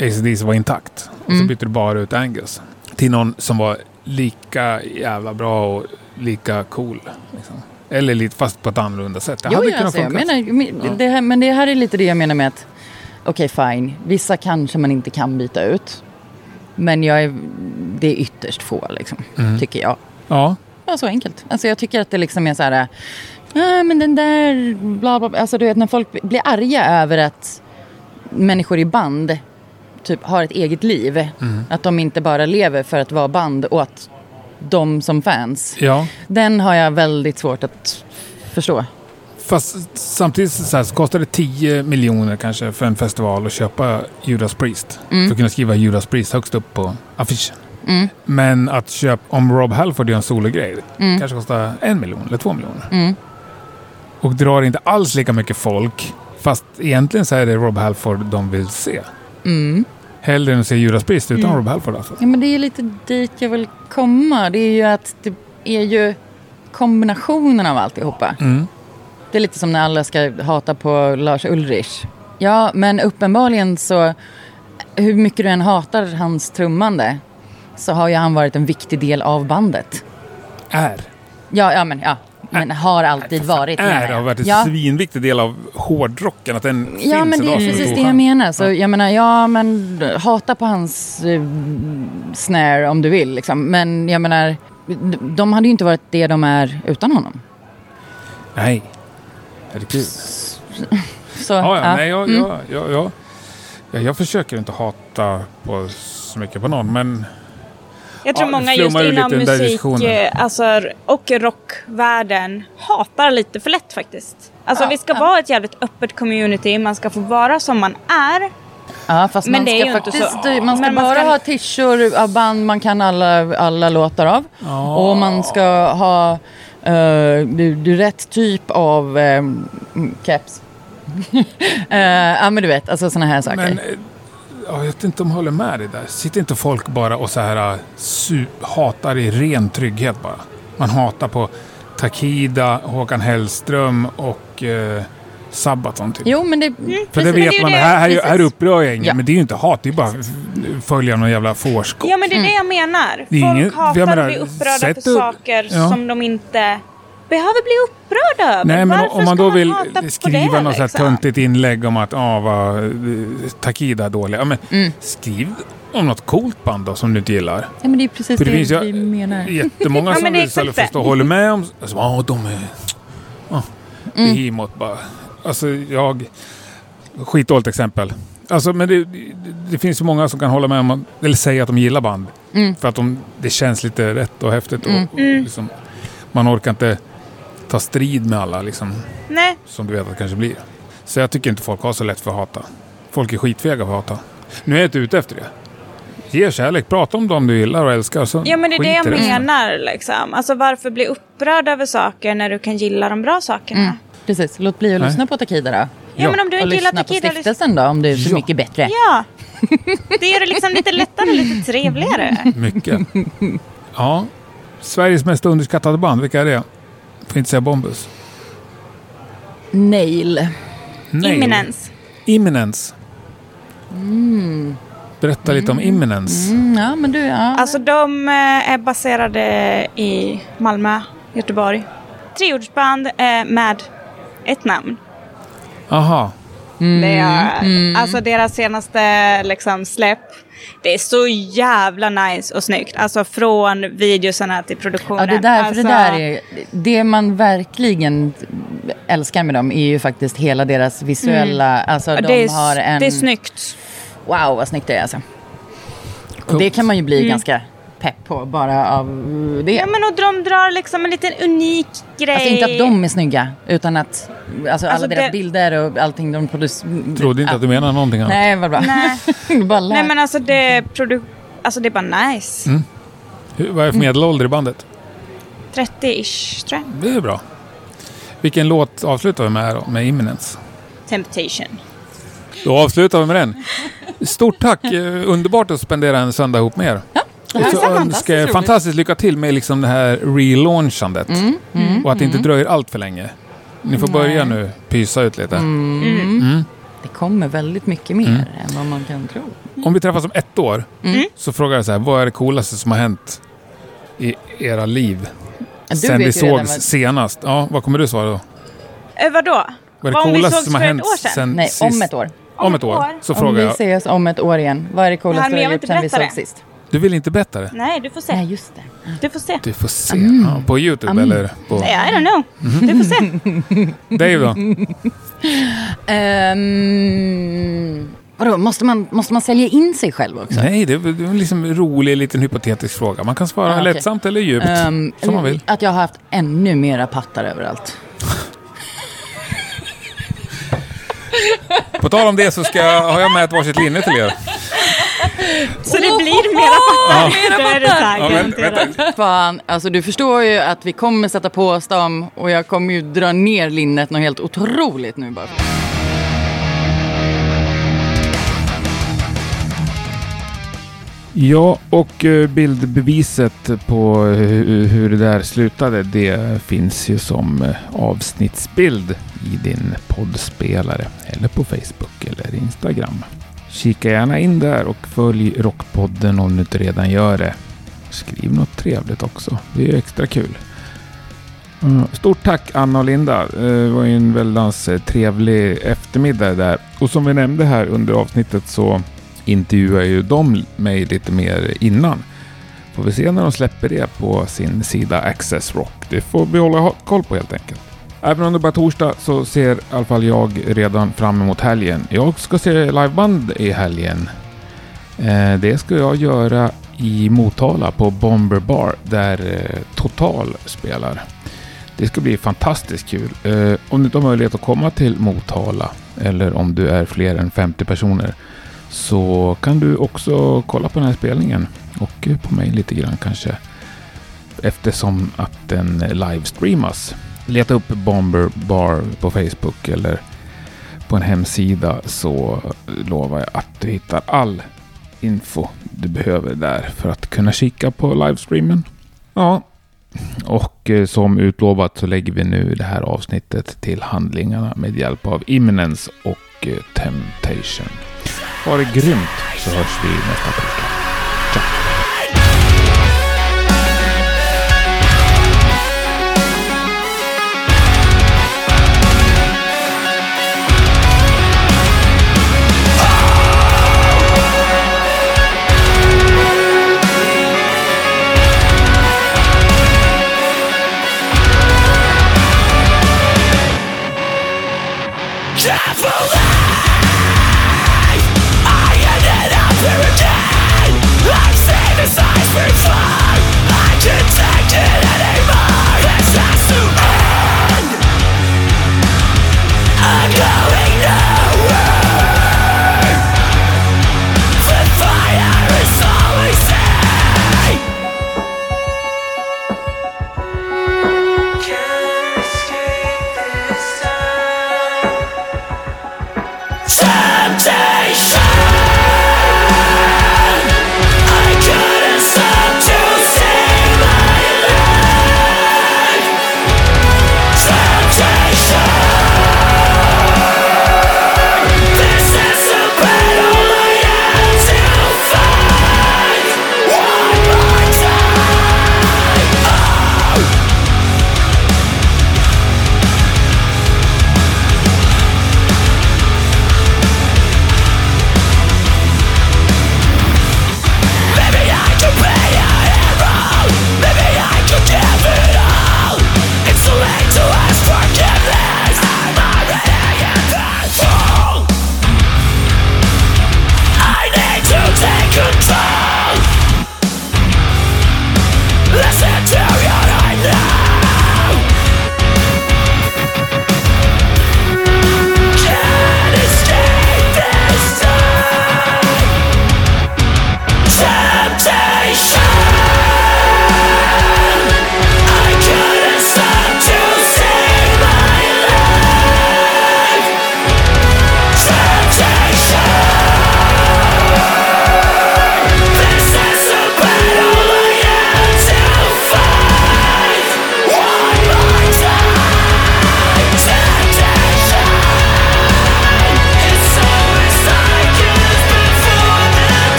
ACDC var intakt. Och så Mm. byter du bara ut Angus. Till någon som var lika jävla bra och lika cool. Liksom. Eller lite, fast på ett annorlunda sätt. Det Jo, hade jo, kunnat alltså, jag funka. menar, men, Ja. det här, men det här är lite det jag menar med att okej fine, vissa kanske man inte kan byta ut. Men jag är, det är ytterst få liksom, Mm. tycker jag. Ja. Ja, så enkelt. Alltså jag tycker att det liksom är så här, ah, men den där, bla bla, bla. Alltså du vet när folk blir arga över att människor i band typ har ett eget liv. Mm. Att de inte bara lever för att vara band och att de som fans. ja. Den har jag väldigt svårt att förstå. Fast samtidigt så, här, så kostar det 10 miljoner kanske för en festival att köpa Judas Priest. För att kunna skriva Judas Priest högst upp på affischen. Mm. Men att köpa, om Rob Halford gör en sologrej, kanske kostar en miljon eller två miljoner. Mm. Och drar inte alls lika mycket folk. Fast egentligen så är det Rob Halford de vill se. Mm. Hellre än att se Judas Priest utan Mm. Rob Halford alltså. Ja, men det är lite dit jag vill komma. Det är ju att det är ju kombinationen av alltihopa. Mm. Det är lite som när alla ska hata på Lars Ulrich. Ja, men uppenbarligen så, hur mycket du än hatar hans trummande, så har ju han varit en viktig del av bandet. Är. Ja, ja men ja. Men har alltid varit. menar Är jag. har varit en ja. svinviktig del av hårdrocken. Att den Ja, finns men det idag är som en precis stor det jag genre. menar. Så jag menar, ja men hata på hans eh, snare om du vill liksom. Men jag menar, d- de hade ju inte varit det de är utan honom. Nej. Herregud. Så, Ja, ja, ja. nej, Mm. jag, jag, jag, jag, jag, jag försöker inte hata på så mycket på någon, men Jag tror Ja, många det just flummar ju inom lite i den där musik diskussionen. eh, alltså, och rockvärlden hatar lite för lätt faktiskt. Alltså Ja, vi ska vara ett jävligt öppet community, man ska få vara som man är. ja fast Men man det är ska ju inte faktiskt, så. man ska Men man bara ska- ha t-shirts av band man kan alla, alla låtar av. Ja. Och man ska ha eh, du, du, rätt typ av eh, mm, caps. [LAUGHS] Eh, ja men du vet, alltså sådana här saker. men eh, ja, jag vet inte om jag håller med dig där. Sitter inte folk bara och så här eh, su- hatar i ren trygghet bara? Man hatar på Takida, Håkan Hellström och eh, Sabaton typ. Jo men det... För det precis. det är vet ju man, det, här, här, här precis. upprör jag ingen. Ja. Men det är ju inte hat, det är ju bara f- följa någon jävla fårskog. Ja men det är det jag menar. mm. Det är Folk ingen- jag hatar menar, och blir upprörda sätt för att- saker ja. som de inte behöver bli upprörda över. Nej, men Varför om man ska då vill hata på skriva det, något liksom? så här töntigt inlägg om att ah, vad, eh, Takida är dålig. Ja, men Mm. Skriv om något coolt band då, som du inte gillar. Ja, men det är precis För det, det finns ju vi menar. [LAUGHS] jättemånga Ja, som men det är vill ställa exakt det. förstå och håller med om... Alltså, ah, de är... Ah, Mm. Behemoth bara. Alltså jag... Skitdåligt exempel. Alltså, men det, det finns ju många som kan hålla med om, att- eller säga att de gillar band. Mm. För att de, det känns lite rätt och häftigt. Och, och liksom, man orkar inte ta strid med alla liksom Nej, som du vet att det kanske blir. Så jag tycker inte folk har så lätt för att hata. Folk är skitfega för att hata. Nu är jag inte ute efter det. Ge kärlek, prata om dem du gillar och älskar. Så ja men det är det skit jag i resten. menar liksom. Alltså varför bli upprörd över saker när du kan gilla de bra sakerna? Mm. Precis, låt bli att lyssna på Takida då. Ja, Ja. men om du Och inte gillar lyssna på Takida, lyssna stiftelsen då, om det är så Ja. mycket bättre. Ja, Det gör det liksom lite lättare och lite trevligare. [LAUGHS] Mycket. Ja. Sveriges mest underskattade band, vilka är det? Får inte säga Bombus. Nail. Mm, Nej. Imminence. Imminence. Berätta lite om Imminence. Mm, ja, men du, ja. Alltså de eh, är baserade i Malmö, Göteborg. Treordsband eh, med ett namn. Aha. Mm. Det är, Alltså deras senaste liksom, släpp. Det är så jävla nice och snyggt. Alltså från videosarna till Ja, produktionen. det där, för alltså, det där är... Det man verkligen älskar med dem är ju faktiskt hela deras visuella... Alltså, Mm. ja, de det är, har en... det är snyggt. Wow, vad snyggt det är alltså. Och Coolt. det kan man ju bli ganska pepp på bara av det. Mm. Ja, men och de drar liksom en liten unik grej. Alltså inte att de är snygga, utan att alltså, alla Alltså, deras det- bilder och allting de producerar. Trodde inte att du menade någonting annat. Nej, vad bra. Nej. [LAUGHS] Bara Nej lär. men alltså det är produ... Alltså det är bara nice. Mm. Hur- Vad är för medelålder i bandet? 30-ish tror jag. Det är bra. Vilken låt avslutar vi med här då? Med Imminence. Temptation. Då avslutar vi med den. Stort tack! Eh, Underbart att spendera en söndag ihop med er. det här Och så var önskar jag fantastiskt fantastiskt lycka till med liksom det här relaunchandet. Mm, och att det inte dröjer allt för länge. Ni får börja nu pysa ut lite. Mm. Det kommer väldigt mycket mer än vad man kan tro. Om vi träffas om ett år Mm. så frågar jag så här, vad är det coolaste som har hänt i era liv? Du Sen vet vi ju redan sågs vad- senast. Ja, vad kommer du svara då? Eh, vadå? Vad är Vad det om vi coolaste sågs som har för ett hänt år sedan? sen Nej, sist? om ett år. Om ett år. Så Om frågar vi jag. ses om ett år igen, vad är det coolaste men du jag har vill gjort inte sen vi berätta sågs det. sist? Du vill inte berätta Mm. det? Nej du får se. Nej, just det. Du får se. Du får se. Ja, på YouTube eller på... Nej, I don't know. Du får Mm. se. Dave [LAUGHS] då? Ehm, vadå, måste man, måste man sälja in sig själv också? Nej, det är det är en liksom rolig liten hypotetisk fråga. Man kan svara Ja, Ah, okej. lättsamt eller djupt. Ehm, som man vill. Att jag har haft ännu mera pattar överallt. På tal om det så ska jag, har jag med ett varsitt linne till er. Så det blir mera pattar. Då är det så här Ja, men, garanterat. vänta. Fan, alltså du förstår ju att vi kommer sätta på oss dem och jag kommer ju dra ner linnet något helt otroligt nu bara. Ja, och eh, bildbeviset på hu- hur det där slutade, det finns ju som eh, avsnittsbild i din poddspelare eller på Facebook eller Instagram. Kika gärna in där och följ Rockpodden om du inte redan gör det. Skriv något trevligt också. Det är ju extra kul. Mm, Stort tack Anna och Linda. Eh, Det var ju en väldans eh, trevlig eftermiddag där. Och som vi nämnde här under avsnittet så intervjuar ju de mig lite mer innan. Får vi se när de släpper det på sin sida Access Rock. Det får vi hålla ha- koll på helt enkelt. Även om det bara är torsdag så ser i alla fall jag redan fram emot helgen. Jag ska se liveband i helgen. Eh, Det ska jag göra i Motala på Bomber Bar där eh, Total spelar. Det ska bli fantastiskt kul. Eh, Om du inte har möjlighet att komma till Motala eller om du är fler än 50 personer så kan du också kolla på den här spelningen och eh, på mig lite grann kanske eftersom att den eh, livestreamas. Leta upp Bomber Bar på Facebook eller på en hemsida så eh, lovar jag att du hittar all info du behöver där för att kunna kika på livestreamen. Ja, och eh, som utlovat så lägger vi nu det här avsnittet till handlingarna med hjälp av Imminence och eh, Temptation. Ha det grymt så hörs vi nästa vecka. Can't escape this sound.